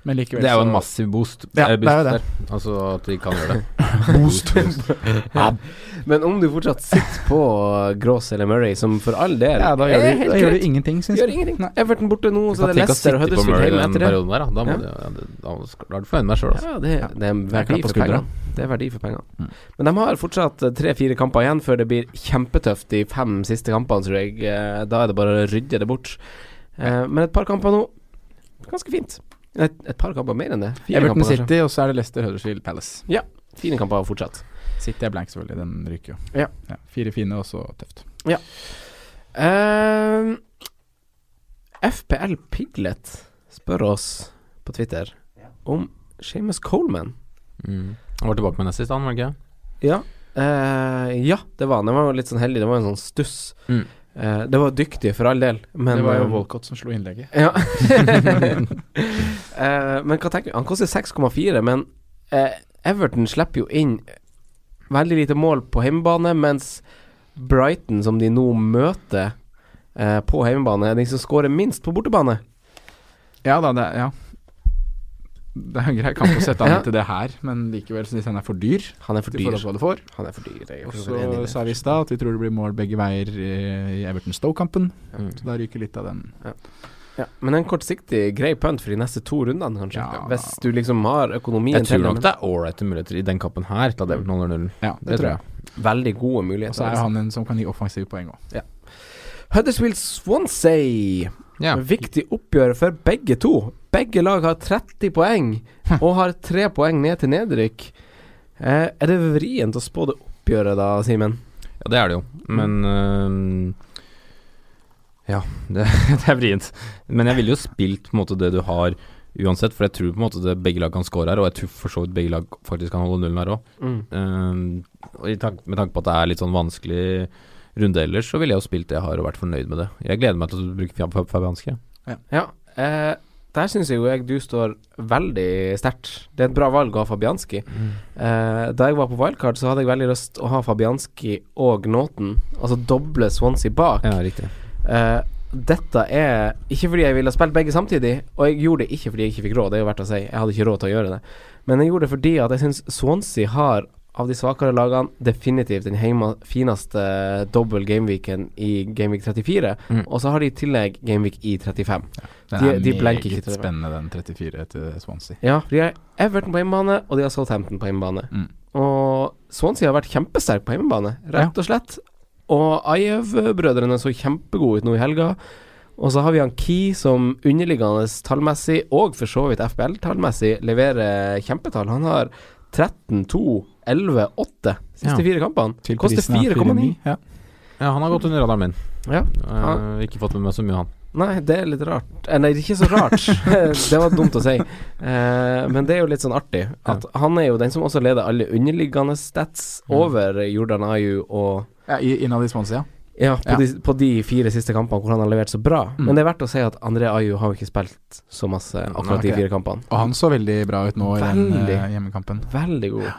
Men likevel Det er jo en så- massiv boost. Ja, det er eh, jo boost det. der. Altså at de kan gjøre det. Boost. Men om du fortsatt sitter på Gross eller Murray, som for all del Ja, da gjør er de, helt da gjør greit. de ingenting, syns Gjør ingenting. Everton borte nå, så Tenk det er å sitte Leicester og på Huddersfield Murray hjemme den etter det. perioden der, da. Da, må Ja. du- ja. det- da skal- da er du fornøyd med deg sjøl, altså. Ja, det, det er en verdi klapp på for skuldra. pengene. Det er verdi for pengene. Men de har fortsatt eh, tre-fire kamper igjen før det blir kjempetøft de fem siste kampene, tror jeg. Eh, Da er det bare å rydde det bort. Eh, Men et par kamper nå, ganske fint. Et, et par kamper mer enn det. Fire Everton kamper, kanskje. City, og så er det Leicester Huddersfield Palace. Fine kamper fortsatt. City er blank, selvfølgelig. Den ryker jo. Ja. Fire fine, og så tøft. Eh, FPL Piglet spør oss på Twitter om Seamus Coleman. Mm. Han var tilbake med nest sist, han, var det ikke? Ja. Eh, ja, det var han. Det var jo litt sånn heldig. Det var en sånn stuss. Mm. Eh, det var dyktige for all del, men det var jo eh, Walcott som slo innlegget. Ja. Eh, men hva tenker du? Han koster 6,4, men eh, Everton slipper jo inn veldig lite mål på hjemmebane, mens Brighton, som de nå møter eh, på hjemmebane, er de som skårer minst på bortebane. Ja da, det er, ja. Det er en grei kamp å sette an Ja. til det her, men likevel syns jeg den er for dyr. Han er for Til dyr. forhold til hva du får. Han er for dyr. Jeg er Og for så så vidt enig i det. sa vi i stad at vi tror det blir mål begge veier eh, i Everton Stowe-kampen. Mm. Så da ryker litt av den. Ja, men en kortsiktig grei punt for de neste to rundene, kanskje. Ja. Hvis du liksom har økonomien Jeg tror det, nok det er ålreite muligheter i den kampen her til at Everton holder nullen. Ja, det, tror jeg. men veldig gode Og så muligheter. er jo altså. han en som kan gi offensive poeng òg. Huddersfield Swansea. Ja. Viktig oppgjør for begge to. Begge lag har 30 poeng, og har tre poeng ned til nedrykk. Eh, er det vrient å spå det oppgjøret da, Simen? Ja, det er det jo, men øhm, Ja, det, det er vrient. Men jeg ville jo spilt på en måte det du har uansett, for jeg tror på en måte det begge lag kan score her, og jeg tror for så vidt begge lag faktisk kan holde nullen her Eh, òg. med tanke på at det er litt sånn vanskelig runde ellers, så ville jeg jo spilt det jeg har og vært fornøyd med det. Jeg gleder meg til å bruke Fab- Fab- Fabianski. Ja. Eh, der syns jeg jo jeg du står veldig sterkt. Det er et bra valg å ha Fabianski. Eh, da jeg var på wildcard, så hadde jeg veldig lyst å ha Fabianski og Nåten. Altså doble Swansea bak. riktig. Eh, dette er ikke fordi jeg ville spilt begge samtidig, og jeg gjorde det ikke fordi jeg ikke fikk råd, det er jo verdt å si. Jeg hadde ikke råd til å gjøre det. Men jeg gjorde det fordi at jeg syns Swansea har, av de svakere lagene, definitivt den heima, fineste double gameweeken i Gameweek 34. Mm. Og så har de i tillegg Gameweek i 35. Den De- er de blanker ikke meget til det. spennende, den 34 til Swansea. Ja, for de har Everton på hjemmebane, og de har Southampton på hjemmebane. Mm. Og Swansea har vært kjempesterk på hjemmebane, rett og slett. Og Ayev-brødrene så kjempegode ut nå i helga. Og så har vi han Key som underliggende tallmessig, og for så vidt FBL-tallmessig, leverer kjempetall. Han har 13, 2, 11, 8 siste Ja. fire kampene. Koster prisen av 4,9. 4,9, Ja. Ja, han har gått under radaren min. Ja. Eh, ikke fått med meg så mye, han. Nei, det er litt rart. Eh, Nei, det er ikke så rart. det var dumt å si. Eh, men det er jo litt sånn artig at han er jo den som Mm. også leder alle underliggende stats over Jordan Ayu og Ja, i- Innad i Swansea, ja. Ja, på, Ja. De, på de fire siste kampene hvor han har levert så bra. Mm. Men det er verdt å si at André Ayu har jo ikke spilt så masse Nei, akkurat ikke de fire det. kampene. Og han så veldig bra ut nå i den Veldig. eh, hjemmekampen. Veldig god.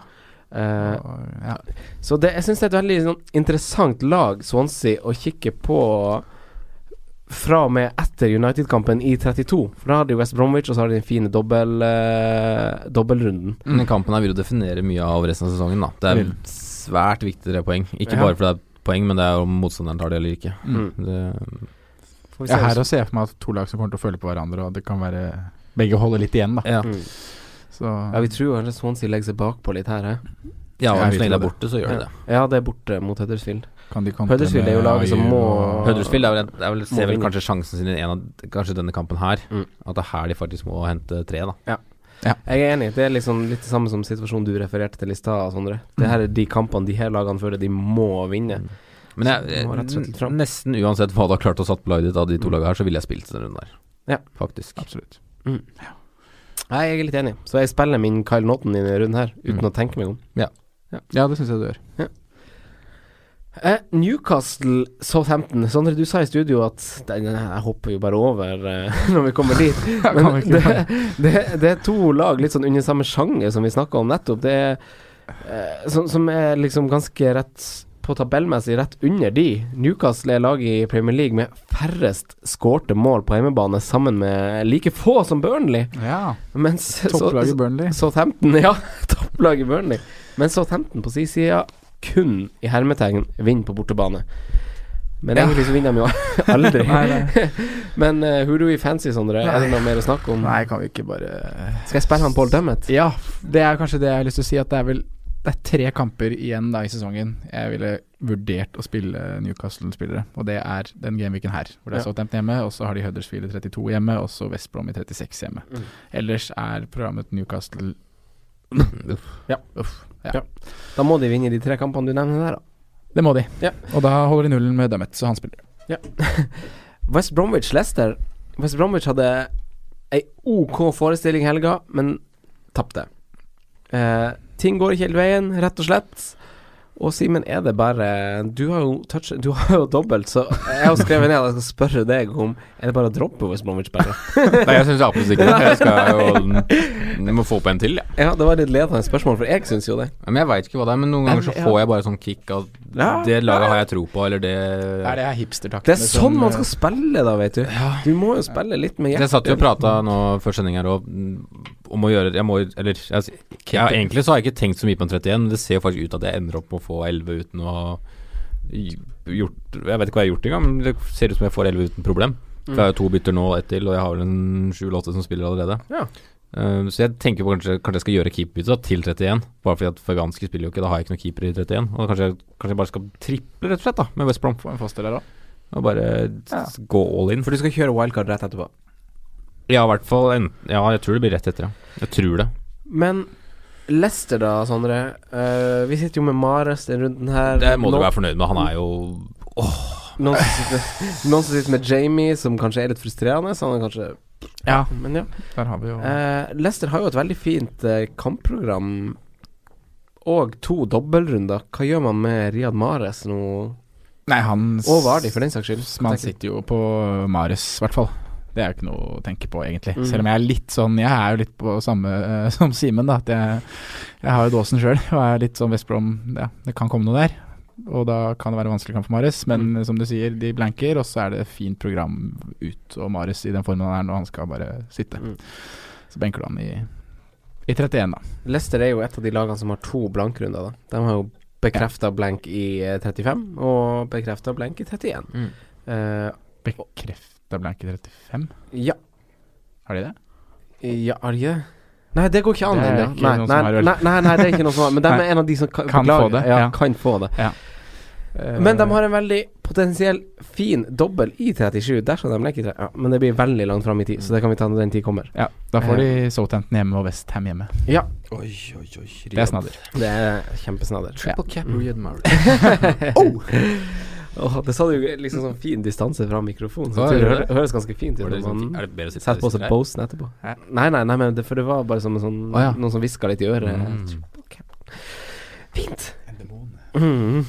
Eh, Og, ja. så det, jeg syns det er et veldig sånn, interessant lag, Swansea, å kikke på fra og med etter United-kampen i 32. For da har de West Bromwich, og så har de den fine dobbel, eh, dobbelrunden. Den kampen her vil jo definere mye av resten av sesongen, da. Det er Vil. svært viktig tre poeng. Ikke Mm. Ja. bare fordi det er poeng, men det er om motstanderen tar det eller ikke. Mm. Det, Får vi se Jeg er her også. og ser for meg at to lag som kommer til å føle på hverandre, og det kan være begge holder litt igjen, da. ja. Mm. Så Ja, vi tror kanskje Swansea legger seg bakpå litt her, eh. hæ? ja, og Jeg så vil lenge det er tro borte, så gjør det det. Ja, det er borte mot Huddersfield. kan de kontre Huddersfield er jo med laget som Ayew må- og- Huddersfield er vel, er vel, ser vel vinne. kanskje sjansen sin i en av Kanskje denne kampen her. Mm. At det er her de faktisk må hente tre, da. Jeg er enig, det er liksom litt det samme som situasjonen du refererte til i stad, Sondre. Det her er de kampene de her lagene føler de må vinne. Men jeg, Så må rett og slett litt fram. Mm. nesten uansett hva du har klart å satt på laget ditt av de to lagene her, så ville jeg spilt den runden der. Ja. Faktisk. Absolutt. Nei, jeg er litt enig, så jeg spiller min Kyle Naughton i denne runden her, uten Mm. å tenke meg om. Ja, det syns jeg du gjør. Eh, Newcastle Southampton. Sondre, du sa i studio at den, Jeg hopper jo bare over eh, når vi kommer dit. kan vi Men ikke det, det, det er to lag litt sånn under samme sjanger som vi snakka om nettopp. Det er, eh, som, som er liksom ganske rett på tabellmessig rett under de. Newcastle er laget i Premier League med færrest skårte mål på hjemmebane, sammen med like få som Burnley. Ja. Mens så- Topplaget Burnley. Southampton, ja. Topplaget Burnley. Men Southampton på sin side kun i hermetegn vinner på bortebane. Men egentlig så vinner de jo aldri. Men eh, who do we fancy, Sondre? Er det noe mer å snakke om? Nei, kan vi ikke bare Skal jeg spille han Paul Dummet? Ja, det er kanskje det jeg har lyst til å si. At det er vel det er tre kamper igjen da i sesongen jeg ville vurdert å spille Newcastle-spillere. Og det er den gameweeken her, hvor det er Ja. Southampton hjemme, og så har de Huddersfield i 32 hjemme, og så West Brom i 36 hjemme. Mm. Ellers er programmet Newcastle Ja, uff. Ja. Mm. Ja. Da må de vinne de tre kampene du nevner der, da. Det må de. Ja. Og da holder de nullen med Dummet, så han spiller. West Bromwich Leicester West Bromwich hadde ei OK forestilling i helga, men tapte. Eh, ting går ikke helt veien, rett og slett. Og Simen, er det bare Du har jo touch, du har jo dobbelt, så jeg har skrevet ned at jeg skal spørre deg om Er det bare å droppe West Bromwich bare? Nei, jeg syns absolutt ikke det. Jeg skal jo Jeg må få på en til, jeg. Ja, det var et litt ledende spørsmål, for jeg syns jo det. Ja, Men jeg veit ikke hva det er, men noen ganger så får jeg bare sånn kick av Ja. Det laget har jeg tro på, eller det Nei, det er Det hipstertaktene er sånn man skal spille, da, vet du. Du må jo spille litt med Jeg hjertet. satt jo og prata nå før sending her og, mm, om å gjøre Jeg må Eller jeg, ja, egentlig så har jeg ikke tenkt så mye på en 31, men det ser jo faktisk ut at jeg ender opp med å få 11 uten å ha gjort Jeg vet ikke hva jeg har gjort engang, men det ser ut som jeg får 11 uten problem. For jeg har jo to bytter nå og ett til, og jeg har vel en 7-8 som spiller allerede. Ja. Eh, så jeg tenker på kanskje, kanskje jeg skal gjøre keeperbytte da, til 31, bare fordi at Faganski spiller jo ikke, da har jeg ikke noen keeper i 31. Og kanskje, jeg- kanskje jeg bare skal triple, rett og slett, da, med West Brom. Få en foster der òg. Og bare s- gå all in. For du skal kjøre wildcard rett etterpå. Ja, i hvert fall en, Ja, jeg tror det blir rett etter, ja. Jeg tror det. Men Leicester da, Sondre. Eh, vi sitter jo med Mares den runden her. Det må du Noen- være fornøyd med. Han er jo Noen som, sitter, noen som sitter med Jamie, som kanskje er litt frustrerende. Så han er kanskje Ja, Men ja. der har vi jo Eh, Leicester har jo et veldig fint eh, kampprogram og to dobbeltrunder. Hva gjør man med Riyad Mares nå? Nei, han s- Og Vardi, for den saks skyld. Man tenker jeg. sitter jo på Marius, i hvert fall. Det er jo ikke noe å tenke på, egentlig. Mm. Selv om jeg er litt sånn Jeg er jo litt på samme eh, som Simen, da. At jeg, jeg har jo dåsen sjøl og er litt sånn West Brom ja, Det kan komme noe der. Og da kan det være en vanskelig kamp for Marius, men Mm. eh, som du sier, de blanker, og så er det fint program ut. Og Marius i den formen han er nå, han skal bare sitte. Mm. Så benker du han i, i 31, da. Leicester er jo et av de lagene som har to blankrunder. da De har jo bekrefta blank i eh, 35 og bekrefta blank i 31. Mm. Eh, Bekrefta blank i 35, ja, har de det? Eh, Ja, er det ikke det? Nei, det går ikke an Det er ennå. ikke Nei, noen nei, som har øl. nei, nei, nei, det er ikke noe som har Men de Nei. er en av de som kan, Kan beklager. få det, Ja, ja. kan få det. Ja. Men de har en veldig potensiell fin dobbel i 37. Der skal de leke i tre- Ja, men det blir veldig langt fram i tid, så det kan vi ta når den tid kommer. Ja, da Eh. får de Southampton hjemme og Westham hjemme. Ja, Det er snadder. det er kjempesnadder. Ja. Mm. Oh! cap Åh, det sa du jo liksom sånn fin distanse fra mikrofonen, så Hva, jeg tror det gjør høres- høres ganske fint ut. Er det, når man- er det bedre å sitte Sett på seg Bosen etterpå. Nei, nei, nei, men det, for det var bare som en sånn Å, ja. Noen som hviska litt i øret. Mm. Ok. Fint. Mm.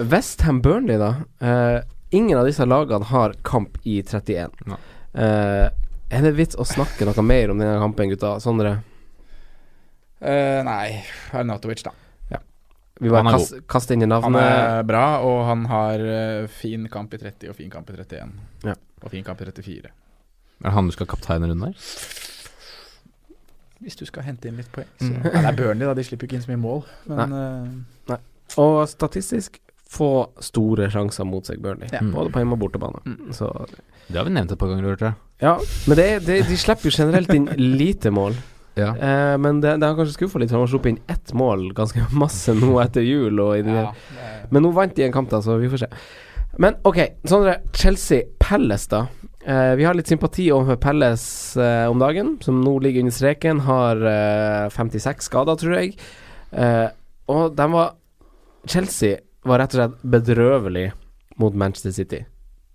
Westham Burnley, da. Eh, ingen av disse lagene har kamp i 31. Nei. Eh, er det vits å snakke noe mer om denne kampen, gutta? Sondre? Eh, nei, Arnatovic, da. Vi bare Han er kast, kaster inn i navnet. Han Altså, er bra, og han har eh, fin kamp i 30 og fin kamp i 31. Ja. Og fin kamp i 34. Er det han du skal kapteine rundt der? Hvis du skal hente inn litt poeng, så ja, Det er Burnley, da. De slipper jo ikke inn så mye mål. Men eh, Og statistisk få store sjanser mot seg, Burnley. Ja. Både på hjemme- og bortebane. Så, Det har vi nevnt et par ganger, tror jeg. ja. Men det, er- det, de slipper jo generelt inn lite mål. Ja. Eh, men det, det har kanskje skuffa litt, for de har sluppet inn ett mål ganske masse nå etter jul. Og i de, ja, det er- Men nå vant de en kamp, da, så vi får se. Men OK, Sondre. Chelsea Palace, da. Eh, vi har litt sympati overfor Palace eh, om dagen, som nå ligger under streken. Har eh, 56 skader, tror jeg. Eh, og de var Chelsea var rett og slett bedrøvelig mot Manchester City.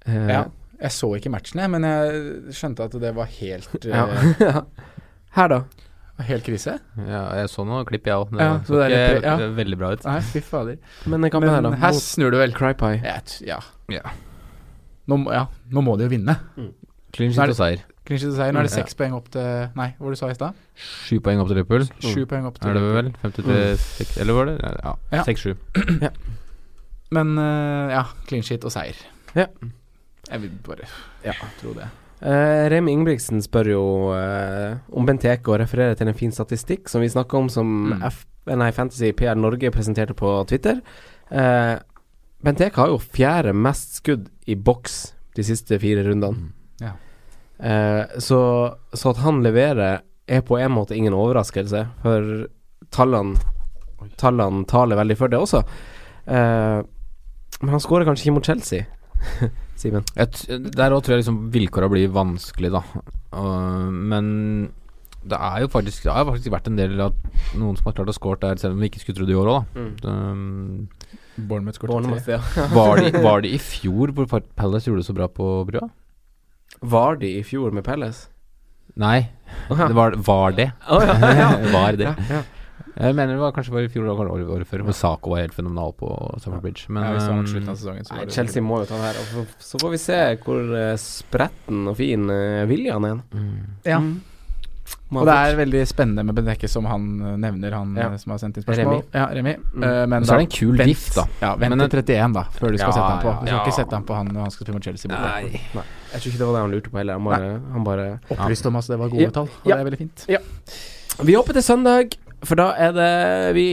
Eh, ja. Jeg så ikke matchene, men jeg skjønte at det var helt, ja. eh, Her, da. helt krise. Ja, jeg så noen klipp, jeg òg. Det Ja, så så det er ikke litt- ja. veldig bra ut. Nei, fy fader. Men den kampen her, Men da. her Mot snur det vel. Crypie. Jeg t- Ja. Ja. Nå, må- ja. Nå må de jo vinne. Clean Nå er sheet det- og seier. Clinch til seier. Nå er det Ja. seks poeng opp til Nei, hva var det du sa i stad? Sju poeng opp til Liverpool. Sju poeng opp til Er det vel? 56 Eller var det? Mm. Ja. Ja. 6-7. Men eh, ja, clean sheet og seier. Ja. Jeg vil bare Ja. tro det. Eh, Remi Ingebrigtsen spør jo eh, om Benteke og refererer til en fin statistikk som vi snakka om, som Mm. F nei, Fantasy PR Norge presenterte på Twitter. Eh, Benteke har jo fjerde mest skudd i boks de siste fire rundene. Ja. Eh, så, så at han leverer, er på en måte ingen overraskelse, for tallene, tallene taler veldig for det også. Eh, men han skårer kanskje ikke mot Chelsea, Simen. Jeg t der òg tror jeg liksom vilkåra blir vanskelig, da. Og- men det er jo faktisk Det har faktisk vært en del av noen som har klart å score der, selv om vi ikke skulle tro det i år òg, da. Um, Bournemouth Bournemouth, ja. var, de, var de i fjor hvor Par- Palace gjorde det så bra på brua? Var de i fjor med Palace? Nei, det var, var det. Å, ja, var det. Ja, ja. Jeg mener det var kanskje bare i fjor eller året året før, hvor Saco var helt fenomenal på Summer Bridge. Men ja, hvis det var mot um, slutten av sesongen, så var Nei, det Chelsea må jo ta det her. og så- Så får vi se hvor eh, spretten og fin eh, William er. Ja. Må Mm. Og det ha er veldig spennende med Benekke, som han eh, nevner, han Ja. eh, som har sendt inn spørsmål. Remi. Ja, Remi. Mm. Eh, men Og så er da- det en kul vent- diff, da. Ja, vent Men til 31, da, før du Ja, skal sette han på. Du skal ja, ja. ikke sette han på han når han skal spille mot Chelsea. fått- borte. Nei. Nei. Jeg tror ikke det var det han lurte på heller. Han bare, han bare Opplyst om at det var Ja. gode tall, og Ja. det er veldig fint. Vi hopper til søndag, for da er det Vi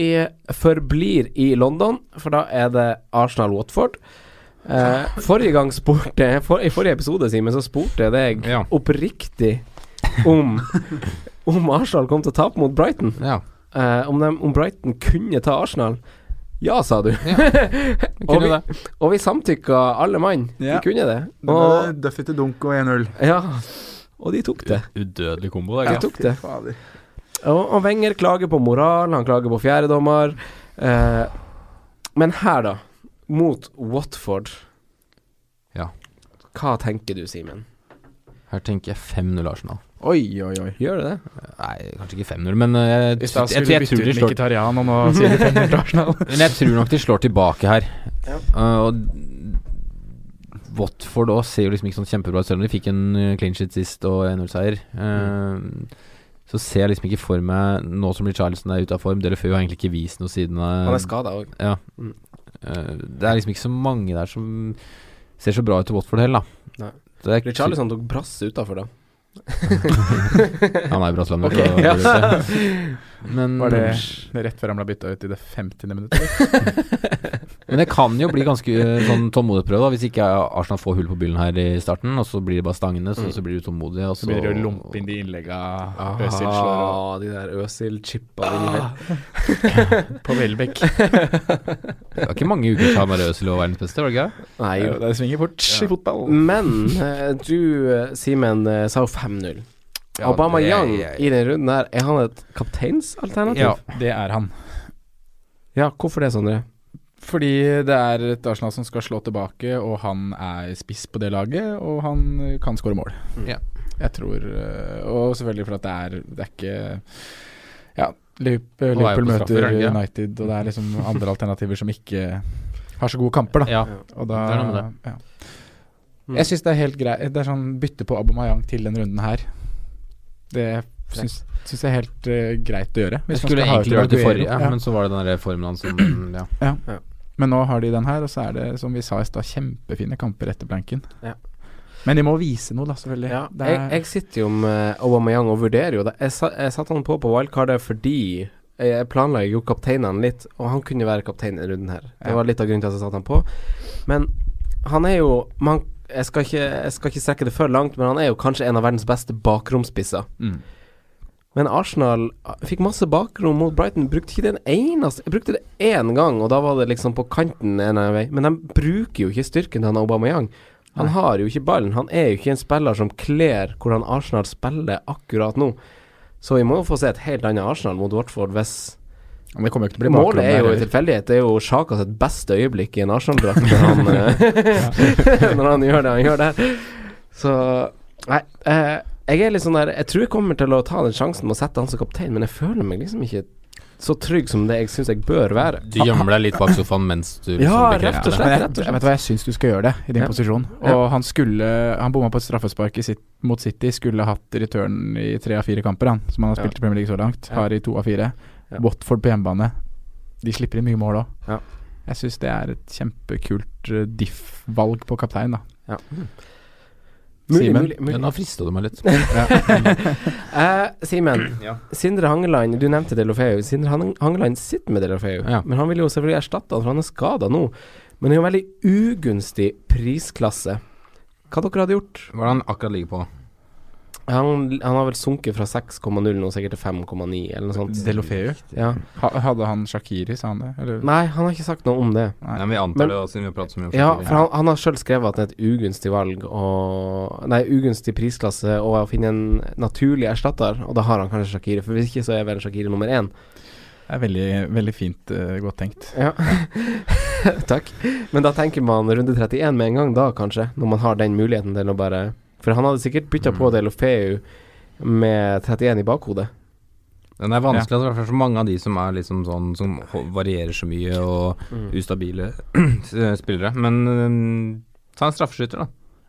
forblir i London, for da er det Arsenal-Watford. Eh, forrige gang spurte for, I forrige episode, Simen, så spurte jeg deg Ja. oppriktig om Om Arsenal kom til å tape mot Brighton. ja. Eh, om, dem- om Brighton kunne ta Arsenal. Ja, sa du. og, kunne vi, og vi samtykka alle mann. Ja. Vi kunne det. eh, Og, Duffy til dunk og 1-0. ja, og de tok det. Udødelig kombo, De det. tok det. Og, og Wenger klager på moral, han klager på fjerdedommer. Eh, men her, da. Mot Watford. Ja. Hva tenker du, Simen? Her tenker jeg 5-0 Arsenal. Oi, oi, oi. Gjør du det? Nei, kanskje ikke 5-0, men eh, jeg, I jeg, stad jeg, skulle jeg, du tror bytte de ut slår, Mkhitaryan, og nå sier du 500 til Arsenal. men jeg tror nok de slår tilbake her. Ja. Eh, og Watford òg ser jo liksom ikke sånn kjempebra ut, selv om de fikk en eh, clean sheet sist og 1-0-seier. Så ser jeg liksom ikke for meg, nå som Richarlison er ute av form Delefeu har egentlig ikke vist noe siden Han av er skada òg. ja. Mm. Eh, Det er liksom ikke så mange der som ser så bra ut til Watford heller, da. Nei. Det er- Richarlison tok brasse utafor, da. Han er i Brassland. Ok, så- ja. Men Var det rett før han ble bytta ut i det 50. minuttet? Men det kan jo bli ganske eh, sånn tålmodighetsprøve, da, hvis ikke Arsenal får hull på byllen her i starten, og så blir det bare stangene, så, så blir du tålmodig, og Så så begynner de å lompe inn de innlegga Øzil slår og- Ah, de der Øsil-chippa ah. på Welbeck. Det er ikke mange uker siden han var Øzil og verdens beste, var det ikke det? Nei, Det jo. er- det svinger fort i fotball. Men eh, du, eh, Simen, eh, sa jo 5-0. Ja, Obama det- Young i den runden her, er han et kapteinsalternativ? Ja, det er han. ja, hvorfor det, Sondre? Fordi det er et Arsenal som skal slå tilbake, og han er spiss på det laget, og han eh, kan skåre mål. Ja. Jeg tror eh, Og selvfølgelig for at det er Det er ikke Ja, Liverpool, Og er jo Liverpool på møter straffer, er det ikke? United, og det er liksom andre alternativer som ikke har så gode kamper, da. Ja. Og da Det er noe med Ja. Jeg syns det er helt greit Det er sånn bytte på Abomayang til den runden her. Det syns syns jeg er helt eh, greit å gjøre. Jeg man skulle skal ha egentlig ut gjøre det til Aguero. forrige, Ja. men så var det den der formen hans som ja. Ja. Men nå har de den her, og så er det, som vi sa i stad, kjempefine kamper etter blanken. Ja. Men de må vise noe, da, selvfølgelig. Det er- Jeg, jeg sitter jo med Aubameyang og vurderer jo det. Jeg, sa, jeg satte han på på wildcardet fordi jeg planla jo kapteinene litt, og han kunne være kaptein i runden her. Det Ja. var litt av grunnen til at jeg satte han på. Men han er jo man, jeg, skal ikke, jeg skal ikke strekke det for langt, men han er jo kanskje en av verdens beste bakromspisser. Mm. Men Arsenal ah, fikk masse bakrom mot Brighton. Brukte ikke den eneste Jeg brukte det én gang, og da var det liksom på kanten en eller annen vei. Men de bruker jo ikke styrken til han Aubameyang. Han har jo ikke ballen. Han er jo ikke en spiller som kler hvordan Arsenal spiller akkurat nå. Så vi må jo få se et helt annet Arsenal mot Watford hvis Men det kommer jo ikke til å bli bakrom Målet er der, jo en eller? tilfeldighet. Det er jo Sjaka sitt beste øyeblikk i en Arsenal-drakt når, han, eh, når han gjør det han gjør der. Så Nei. Eh, jeg er litt sånn der Jeg tror jeg kommer til å ta den sjansen med å sette han som kaptein, men jeg føler meg liksom ikke så trygg som det jeg syns jeg bør være. Du gjemmer deg litt bak sofaen mens du liksom Ja, bekrefter rett og det. slett. Men jeg, rett og slett. jeg vet hva, jeg syns du skal gjøre det, i din Ja. posisjon. Og Ja. han skulle Han bomma på et straffespark i sitt, mot City, skulle hatt return i tre av fire kamper, han, som han har Ja. spilt i Premier League så langt. Ja. Har i to av fire. Ja. Watford på hjemmebane. De slipper inn mye mål òg. Ja. Jeg syns det er et kjempekult eh, diff-valg på kaptein, da. Ja. Mulig, Simen? mulig, mulig. Ja, nå frista du meg litt. Eh, Simen, Ja. Sindre Hangeland, du nevnte Delofeu. Sindre Han- Hangeland sitter med Delofeu, Ja. men han vil jo selvfølgelig erstatte han, for han er skada nå. Men det er jo en veldig ugunstig prisklasse. Hva dere hadde gjort? Hva er det han akkurat ligger på? Han, han har vel sunket fra 6,0 nå sikkert til 5,9 eller noe sånt. Delofeu. Ja. Ha, hadde han Shakiri, sa han det? Eller? Nei, han har ikke sagt noe om det. Nei, men Vi antar Men- det, da, siden vi har pratet så mye om Ja, Shaqiri. for han, han har sjøl skrevet at det er et ugunstig valg og Nei, ugunstig prisklasse og å finne en naturlig erstatter, og da har han kanskje Shakiri, for hvis ikke så er vel Shakiri nummer én. Det er veldig, veldig fint eh, godt tenkt. Ja. Takk. Men da tenker man runde 31 med en gang, da kanskje, når man har den muligheten til å bare For han hadde sikkert bytta Mm. på Delofeu med 31 i bakhodet. Den er vanskelig, altså, i hvert fall for mange av de som er liksom sånn Som ho- varierer så mye og Mm. ustabile spillere. Men øhm, ta en straffeskytter, da.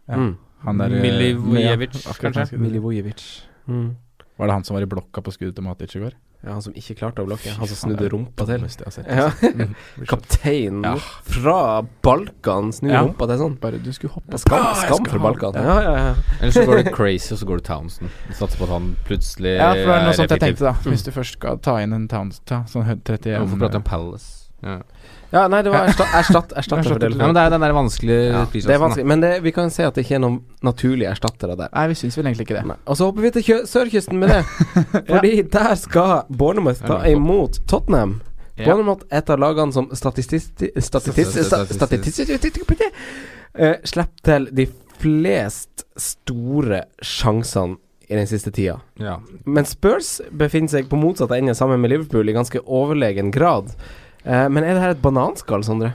Ja. Mm. Han der, eh, Milivojevic, ja, akkurat kanskje? han skulle- Mm. Var det han som var i blokka på skuddet til Matic i går? Ja, han som ikke klarte å blokke. Han som Fy faen, snudde det er rumpa til. dummeste jeg har sett. Ja. Blir så- Kapteinen Ja. fra Balkan snur Ja. rumpa til sånn. Bare du skulle hoppe Skam, Ah, jeg skam skal fra ha- Balkan. Ja. Ja, ja, ja. Eller så går du crazy, og så går du Townsend. Du satser på at han plutselig Ja, for det Mm. var noe sånt jeg effektiv. tenkte, da. Hvis du først skal ta inn en Towns ta, sånn hø- 31 Hvorfor prater jeg om Palace? Ja. ja nei, det var erstatt, erstatt, erstatter Erstatter for Delofeu. men det er den der vanskelige Ja, det er vanskelig, men det, vi kan se at det ikke er noen naturlige erstattere der. Nei, vi syns vel egentlig ikke det. Nei. Og så hopper vi til kjø- sørkysten med det. Fordi der skal Bournemouth ta imot Tottenham. Ja. Bournemouth er et av lagene som statistisk Statistisk- Slipper Eh, til de flest store sjansene i den siste tida. Ja. Men Spurs befinner seg på motsatt ende sammen med Liverpool i ganske overlegen grad. Eh, Men er det her et bananskall, Sondre?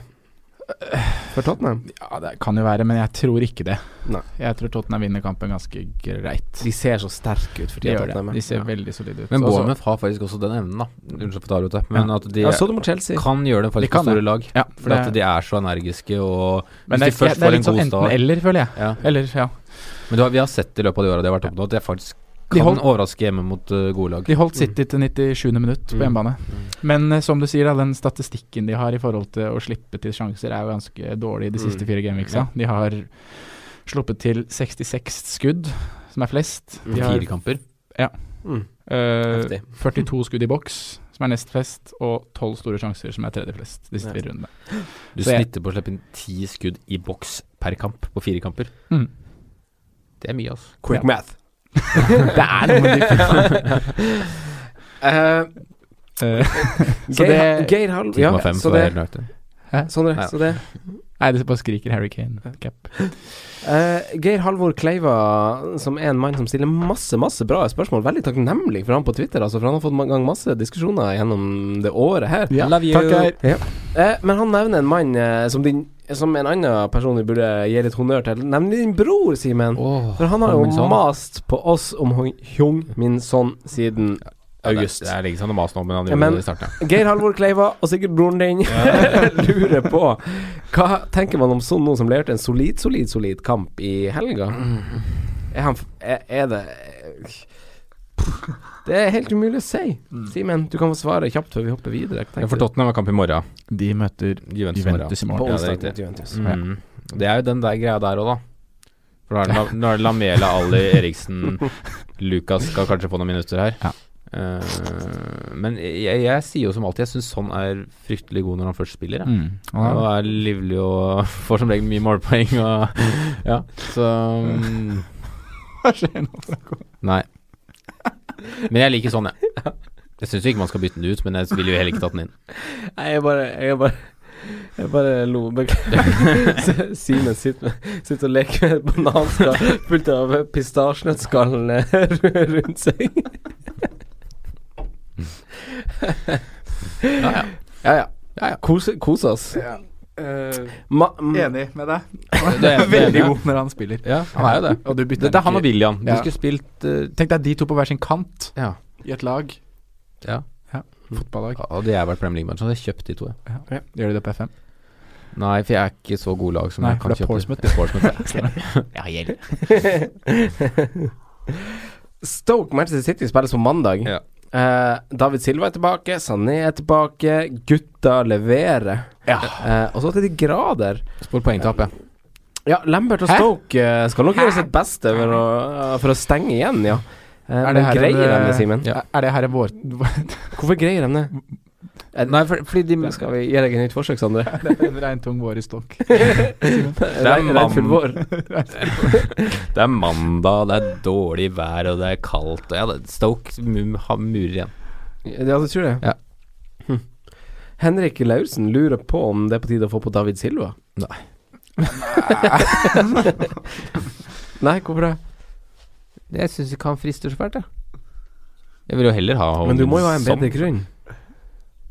For Tottenham? Ja, det kan jo være, men jeg tror ikke det. Nei. Jeg tror Tottenham vinner kampen ganske greit. De ser så sterke ut for tida, De gjør Tottenham. det. De ser veldig solide ut. Men Så- så- Bournemouth har faktisk også den evnen, da. Unnskyld for å ta det ut, da. men at de Ja, så du mot Chelsea. kan gjøre det De faktisk kan på store det. lag. ja, Fordi at de er så energiske, og men hvis det, de først det er får en litt sånn god start enten-eller, føler jeg. ja. Eller, ja. Men du har, vi har sett i løpet av de åra de har vært oppe nå, at det faktisk De kan holdt- overraske hjemme mot eh, gode lag. De holdt City til 97. minutt på Mm. hjemmebane. Men eh, som du sier, da, den statistikken de har i forhold til å slippe til sjanser, er jo ganske dårlig i de siste Mm. fire gameweeksa. De har sluppet til 66 skudd, som er flest. De har Fire kamper. Mm. Eh, Heftig. 42 skudd i boks, som er nest flest, og 12 store sjanser, som er tredje flest de siste Ja. fire rundene. Du Så jeg- snitter på å slippe inn ti skudd i boks per kamp på fire kamper. Mm. Det er mye, altså. Quick Ja. math. Det er noe med Eh, Så Geir, det- Geir Halv Ja, ja, fem, så for å det, være helt nøyaktig. Sondre, Ja. så det. Nei, det bare skriker Harry Kane. Cap. Eh, Geir Halvor Kleiva, som er en mann som stiller masse masse bra spørsmål, veldig takknemlig for han på Twitter, altså, for han har fått i gang masse diskusjoner gjennom det året her. Ja, Love you. takk, Geir. Ja. Eh, men han nevner en mann eh, som, din, som en annen person vi burde gi litt honnør til, nemlig din bror, Simen. Åh, For han har jo Hong Min Son. mast på oss om Hong- Hyung Min Son siden August. Det er lenge siden han maste om, men han Ja, gjorde men- det i starten. Geir Halvor Kleiva og sikkert broren din lurer på Hva tenker man om sånn noen som leverte en solid, solid, solid kamp i helga? Er han f- Er, er det Det er helt umulig å si. Simen, du kan få svare kjapt før vi hopper videre. Hva Ja, tenker for Tottenham har kamp i morgen. De møter Juventus, i morgen. Juventus i du? På morgen. Ja, det er onsdag riktig. mot Juventus. Ja. Mm. Det er jo den der greia der òg, da. For da er det La- da er det Lamela, Ali, Eriksen Lukas skal kanskje få noen minutter her. Ja. Eh, men jeg, jeg sier jo som alltid, jeg syns sånn er fryktelig god når han først spiller. Jeg. Mm. Ja, Og er livlig og får som regel mye målpoeng og Ja, så mm, Hva skjer nå, Franco? Nei. Men jeg liker sånn, jeg. Jeg syns ikke man skal bytte den ut, men jeg ville jo heller ikke tatt den inn. Mm. Nei, jeg bare Jeg bare jeg bare lo. Beklager. Simen sitter, sitter og leker med et bananskall fullt av pistasjenøttskall rundt seg. Ja, ja. Ja, ja. Kose, kose oss. Ma, m, Enig med deg. Mm. Det er- det Veldig er- god når han spiller. Ja, han er jo det. Og du bytter Dette er han og William. Du Ja. skulle spilt eh, Tenk deg de to på hver sin kant Ja. i et lag. Ja. Fotballag. Hadde jeg vært Premier League-manager, hadde jeg kjøpt de to. jeg. Gjør de det på FM? Nei, for jeg er ikke så god lag som Nei, jeg for det kan er kjøpe. Portsmouth. Det er Portsmouth. ja. Jeg har gjeld. Stoke Manchester City spilles på mandag. Ja. Eh, David Silva er tilbake, Sané er tilbake, gutta leverer. Eh, og så til de grader. Spår poengtap, ja. Ja, Lambert og Hæ? Stoke eh, skal nok gjøre sitt beste for å, for å stenge igjen, ja. Eh, Er det men her greier en, de eh, det, Simen? Er- Er det her en vår... Hvorfor greier de det? Eh, Nei, for, fordi de Skal vi gi deg et nytt forsøk, Sondre? Det er en regntung vår i stokk. er Regn- mann- regnfull vår. Det er mandag, det er dårlig vær, og det er kaldt. Og ja, det- Stoke mu- har murer igjen. Ja, du tror det? Ja. Hm. Henrik Laursen lurer på om det er på tide å få på David Silva. Nei. Nei, hvorfor det? Jeg syns ikke han frister så fælt, jeg. Jeg vil jo heller ha Men du må jo ha en som- bedre grunn.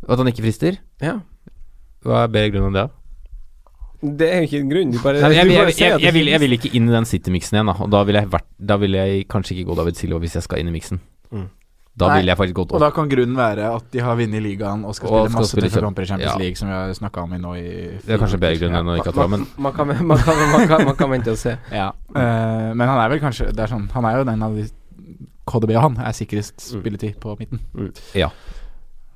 At han ikke frister? Ja. Hva er bedre grunn enn det? da? Det er jo ikke en grunn. Du bare, Nei, jeg, du jeg, bare jeg, sier jeg, at jeg, det vil, jeg finnes. vil ikke inn i den City-miksen igjen, da. Og da vil, jeg vært, da vil jeg kanskje ikke gå David Silva hvis jeg skal inn i miksen. Mm. Da Nei. vil jeg faktisk gått Og da kan grunnen være at de har vunnet ligaen og skal Og spille skal masse spille tøffe kjempe- kamper i Champions ja. League, som vi har snakka om i nå i Det er kanskje bedre grunn enn å ikke ha tråd, men man, kan, man, kan, man, kan, man kan vente og se. Ja. Eh, men han er vel kanskje Det er sånn Han er jo den av de KDB og han er sikrest Mm. spilletid på midten.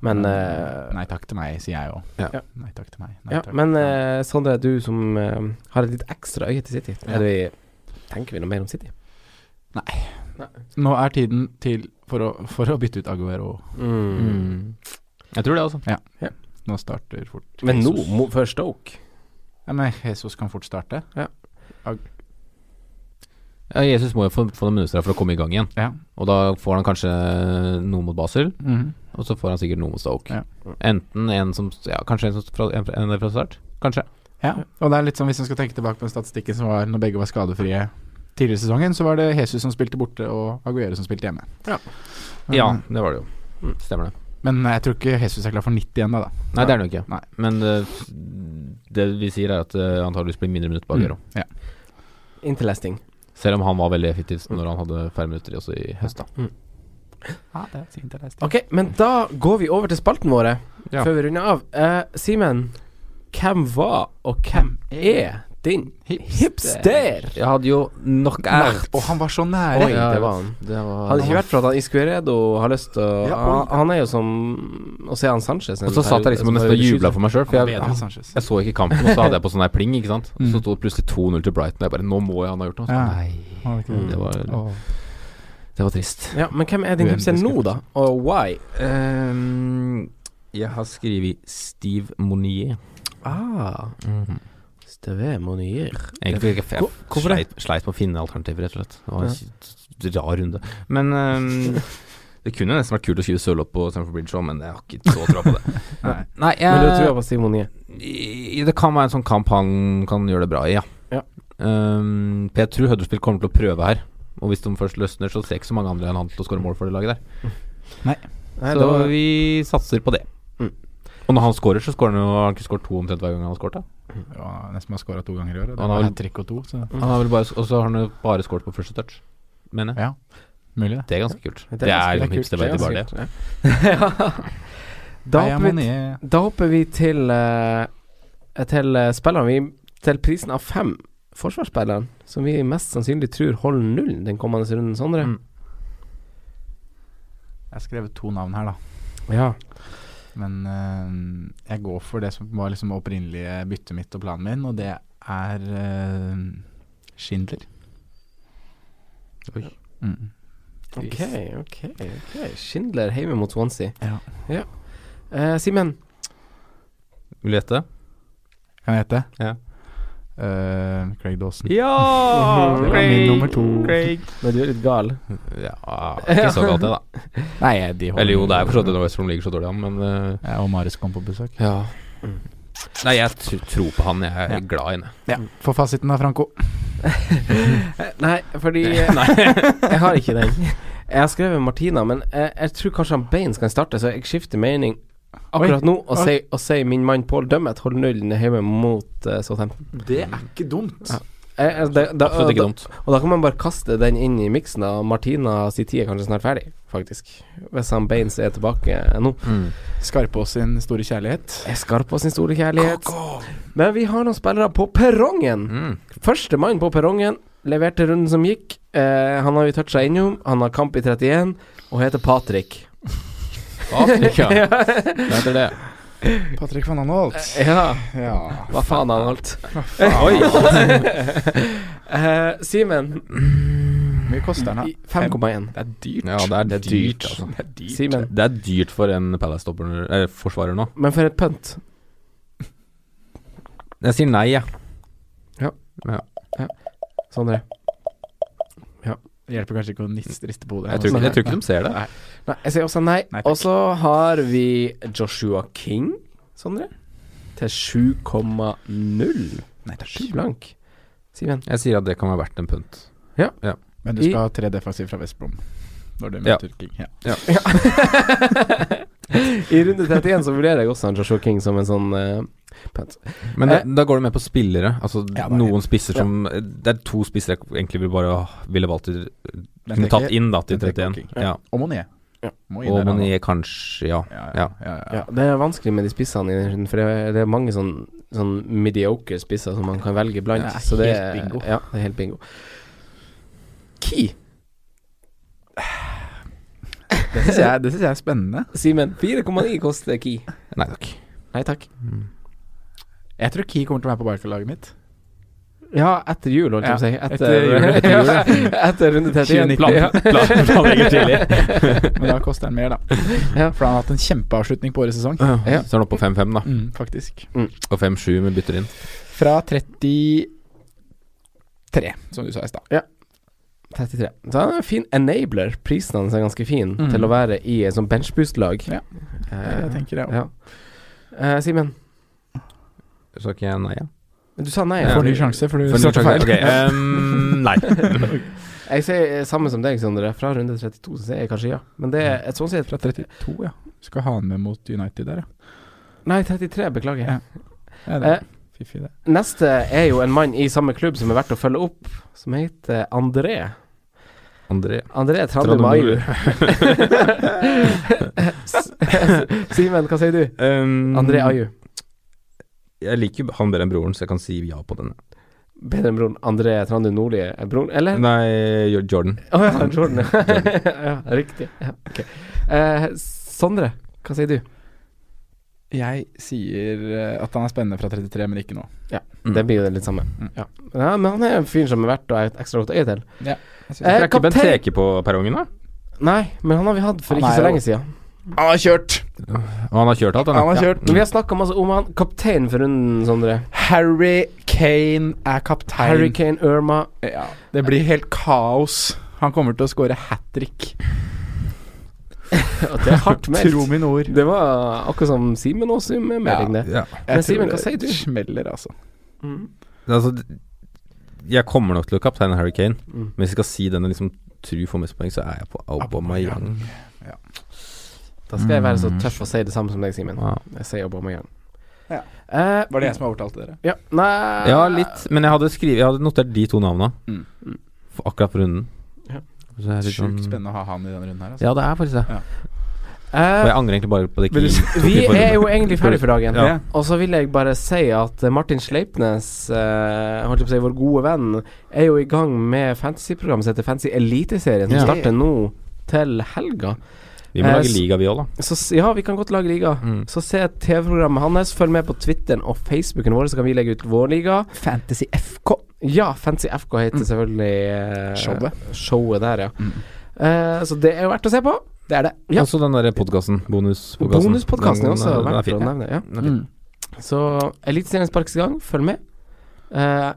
Men, eh, Nei takk til meg, sier jeg òg. Ja. Nei takk til meg. Nei, ja, takk. men eh, Sondre, du som eh, har et litt ekstra øye til City, er det vi, tenker vi noe mer om City? Nå er tiden til for å, for å bytte ut Aguero. Mm. Jeg tror det, altså. Nå starter fort Men nå, Jesus. mo, før Stoke ja, Men Jesus kan fort starte. Ja, Jesus må jo få, få noen minutter her for å komme i gang igjen. Ja. Og da får han kanskje noe mot Basel, Mhm. og så får han sikkert noe mot Stoke. Ja. Enten en som Ja, kanskje en, som fra, en, fra- en fra start? Kanskje. Ja, og det er litt sånn hvis man skal tenke tilbake på den statistikken som var når begge var skadefrie tidligere i sesongen, så var det Jesus som spilte borte og Aguero som spilte hjemme. Ja. Men, Ja, det var det jo. Stemmer det. men eh, jeg tror ikke Jesus er klar for 90 ennå, da. Nei, det er det jo ikke. Nei. Men eh, det vi sier, er at uh, antakeligvis blir mindre minutt på Aguero. Ja. Interlasting. Selv om han var veldig effektiv når han hadde færre minutter også i høst, da. ja, det er sint det er sint. Ok, men da går vi over til spalten våre Ja. før vi runder av. Eh, Simen, hvem var og hvem er din hipster? Jeg hadde jo nok ært. Og han var så nære! Oi, det var han. Det var Hadde det ikke vært for at han Iscueredo har lyst til å Ja, han, oi. han er jo som å se han Sanchez. en Og så satt periode jeg liksom og som nesten og periode jubla for meg sjøl, for Han var bedre enn jeg, Sanchez. jeg så ikke kampen, og så hadde jeg på sånn her pling, ikke sant. Så sto det plutselig 2-0 til Brighton, og jeg bare Nå må jeg han ha gjort noe. Så, Ja. Mm. Nei. Var det ikke det? Det var, Åh. det var trist. 20. Ja, men hvem er din Uendelig hipster nå, skuffelse. da? Og why? jeg har skrevet Steve Monier. Ah, Mhm. Steve Monier. Egentlig ikke jeg Hvorfor det? sleit, sleit med å finne alternativer, rett og slett. Det var en rar runde. Men ehm, det kunne nesten vært kult å skrive Sørlopp på Stamford Bridge òg, men jeg har ikke så troa på det. Nei. Nei, jeg, Men du tror på Steve Monier? I- Det kan være en sånn kamp han kan gjøre det bra i, ja. Ja. Ehm, for jeg tror Huddersfield kommer til å prøve her. Og hvis de først løsner, så ser ikke så mange andre enn han til å skåre mål for det laget der. Mm. Nei, så det var- vi satser på det. Mm. Og når han skårer, så skårer han jo Har han ikke skåret to omtrent hver gang han har skåret, da? Ja, han har nesten har skåra to ganger i år. Og det Han har var vel- hat trick og to, så Han har vel bare, og så har han jo bare skåret på første touch, mener jeg. ja. Mulig, det. Det er ganske kult. Det Det ganske- er det noen kult, hipster det er bare det. ganske kult, ja. da, Nei, jeg hopper må vi, ned- da hopper vi til eh, Til eh, spilleren vi, Til prisen av fem forsvarsspilleren som vi mest sannsynlig tror holder nullen den kommende runden, Sondre. Mm. Jeg har skrevet to navn her, da. Ja. Men eh, jeg går for det som var liksom opprinnelige byttet mitt og planen min, og det er eh, Schindler. Oi. Mm. Ok, ok. ok Schindler hjemme mot Swansea. Ja. Eh, Simen, Vil du gjette? Kan jeg hete? Ja. Eh, Craig Dawson. Ja! Det var min nummer to. men du er litt gal. Ja, ikke så galt det, da. Nei, de holder Eller jo, det er for så vidt når West Brom ligger så dårlig an, men eh, Ja, og Marius kom på besøk. Ja. Nei, jeg tr tror på han. Jeg er glad i ham. Ja, Få fasiten da, Franco. Eh, Nei, fordi Nei. jeg har ikke den. Jeg har skrevet Martina, men jeg, jeg tror kanskje han Baines kan starte, så jeg skifter mening akkurat Oi. nå og Oi. sier og sier min mann Paul Dummett holder nullen hjemme mot uh, Southampton. Det er ikke dumt. Jeg- jeg- da- da- Absolutt ikke da- dumt. Og da kan man bare kaste den inn i miksen. da. Martina si tid er kanskje snart ferdig, faktisk. Hvis han Baines er tilbake nå. Mm. Skarpaas sin store kjærlighet. Jeg er skarp på sin store kjærlighet. Men vi har noen spillere på perrongen. Mm. Førstemann på perrongen leverte runden som gikk. Eh, han har vi toucha innom. Han har kamp i 31 og heter Patrick. Afrika. Hva heter det? Patrick van Anholt. Ja, Eh, Ja. hva faen han holdt. Oi! Eh, Simen, Mye koster den, da? i 5,1. Det er dyrt. Ja, det er, Det er dyrt, dyrt. altså. Det er dyrt. Simen. Det er dyrt for en Palace-stopper eh, forsvarer nå. Men for et pønt. Jeg sier nei, jeg. Sondre. Det hjelper kanskje ikke å nist- riste på hodet. Jeg tror, ikke- jeg tror ikke de ser det. Nei, jeg sier også nei. Nei, takk. og så har vi Joshua King, Sondre, til 7,0 Nei, takk. blank. Simen. Jeg sier at det kan være verdt en punt. Men du I- skal ha tre defensiv fra West Brom når du Ja. møter King. Ja. I runde 31 så vurderer jeg også han Joshua King som en sånn eh, punt. Men da, Eh, da går det med på spillere. Altså Ja, det er noen spisser som eh, Det er to spisser jeg egentlig ville bare ville valgt til Den Kunne tenker- tatt inn da til den tenker 31. King. Ja. Og Monier. Ja. Må inn Og der, da. Monier kanskje, ja. Ja, ja, Ja. ja, ja. Ja, det er vanskelig med de spissene, i den runden, for det er, det er mange sånn, sånn mediocre spisser som man kan velge blant. Det er så det helt er- bingo. Ja, det er helt bingo. Key, Det syns jeg, det synes jeg er spennende. Simen. 4,9 koster Key. Nei takk. Nei takk. Jeg tror Key kommer til å være på Barca-laget mitt. Ja, etter jul, holdt jeg på å si. Ja, Etter, etter jul, eh, etter jul, etter runde 31. 2019. Plan- planlegger tidlig. Men da koster den mer, da. Ja. For han har hatt en kempeavslutning på årets sesong. Ja. Så er han oppe på 5-5, da. Mm, faktisk. Og 5-7 med bytter inn. Fra 33, som du sa i stad. 33. Så han er en fin enabler. Prisen hans er ganske fin til å være i et sånt benchboost-lag. Mm. Ja. Eh, Jeg tenker det også. ja. Eh, Simen, Så ikke jeg nei, ja. du sa nei. Ja. Får ny sjanse, for du For starter feil. Ok, ehm, nei. Jeg sier eh, samme som deg, Sondre. Fra runde 32 så sier jeg kanskje ja. Men det er et sånn sett Fra 32, ja. Skal ha han med mot United der, ja. Nei, 33. Beklager. Ja. ja det Eh. er Fiffig, det. Neste er jo en mann i samme klubb som er verdt å følge opp, som heter André. André. André Trandum Trandemail. Simen, hva sier du? Mm. Um, André Aju. Jeg liker jo han bedre enn broren, så jeg kan si ja på den. Bedre enn broren André Trandum Nordli er broren, eller? Nei, Jo- Jordan. Å ja, Jordan. ja, riktig. Ja, ok. Eh, Sondre, hva sier du? Jeg sier eh, at han er spennende fra 33, men ikke nå. Mm. Det blir jo det litt samme. Mm. Ja. ja, men han er en fyr som er verdt å ha et ekstra godt øye til. Det Eh, er ikke Bent kaptein- Teke på perrongen, da? Nei, men han har vi hatt for Han ikke er så jo- lenge siden. Han har kjørt! Og han har kjørt alt, han. Han har Ja. Mm. kjørt. Men vi har snakka masse om han. Kaptein for runden, Sondre. Harry Kane er kaptein. Hurricane Irma. Ja, det blir helt kaos. Han kommer til å score hat trick. Ja, det er hardt Tro meldt. mine ord. Det var akkurat som Simen også med melding, det. Ja. Jeg Simen, tror hva sier du? Det smeller, altså. Altså, d- jeg kommer nok til å kapteine Harry Kane, Mm. men hvis jeg skal si den jeg liksom tror får mest poeng, så er jeg på Aubameyang. Da skal jeg være så Mm. tøff og si det samme som deg, Simen. Ja. Jeg sier Aubameyang. Ja. Eh, Var det jeg som overtalte dere? ja. Nei Ja, litt, men jeg hadde, skrevet- jeg hadde notert de to navna Mm. for akkurat på runden. Ja. Så det er litt Sjukt sånn- spennende å ha han i denne runden her. Altså. Ja, det er faktisk det. Ja. Eh, Og jeg angrer egentlig bare på det Vil du- ikke tok vi i forrige er jo runde. egentlig ferdig for dagen. Ja. Og så vil jeg bare si at eh, Martin Sleipnes, eh, holdt jeg på å si, vår gode venn, er jo i gang med fantasyprogrammet som heter Fantasy Eliteserien, som Ja. starter nå til helga. Vi må Eh, lage s- liga, vi òg, da. Så s- ja, vi kan godt lage liga. Så se TV-programmet hans, følg med på Twitteren og Facebooken vår, så kan vi legge ut vår liga. Fantasy FK. Ja, Fancy FK heter selvfølgelig eh, Showet. Showet der, ja. Eh, så det er jo verdt å se på. Det er det. Ja. Og så den derre podkasten. Bonuspodkasten. Bonuspodkasten er Den- også Den er verdt å fin. nevne. Ja. Mm. Den er fin. Så Eliteserien sparkes i gang, følg med. Eh, er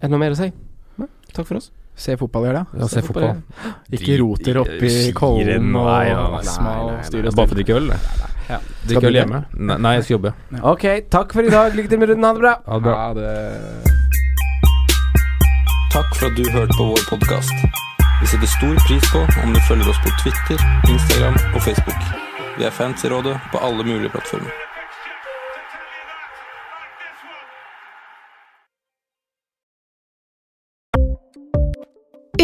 det noe mer å si? Nei, takk for oss. Se fotball, gjør det. Ja, se fotball. Ikke roter opp i kollen og Nei, nei, nei, astma og styr og Bare stell. for å drikke øl, det. du Drikke øl det? hjemme? Nei, nei, jeg skal jobbe. Ok, takk for i dag. Lykke til med runden. Ha det bra. Ha det bra. Ha det. Takk for at du hørte på vår podkast. Vi setter stor pris på om du følger oss på Twitter, Instagram og Facebook. Vi er fans i rådet på alle mulige plattformer.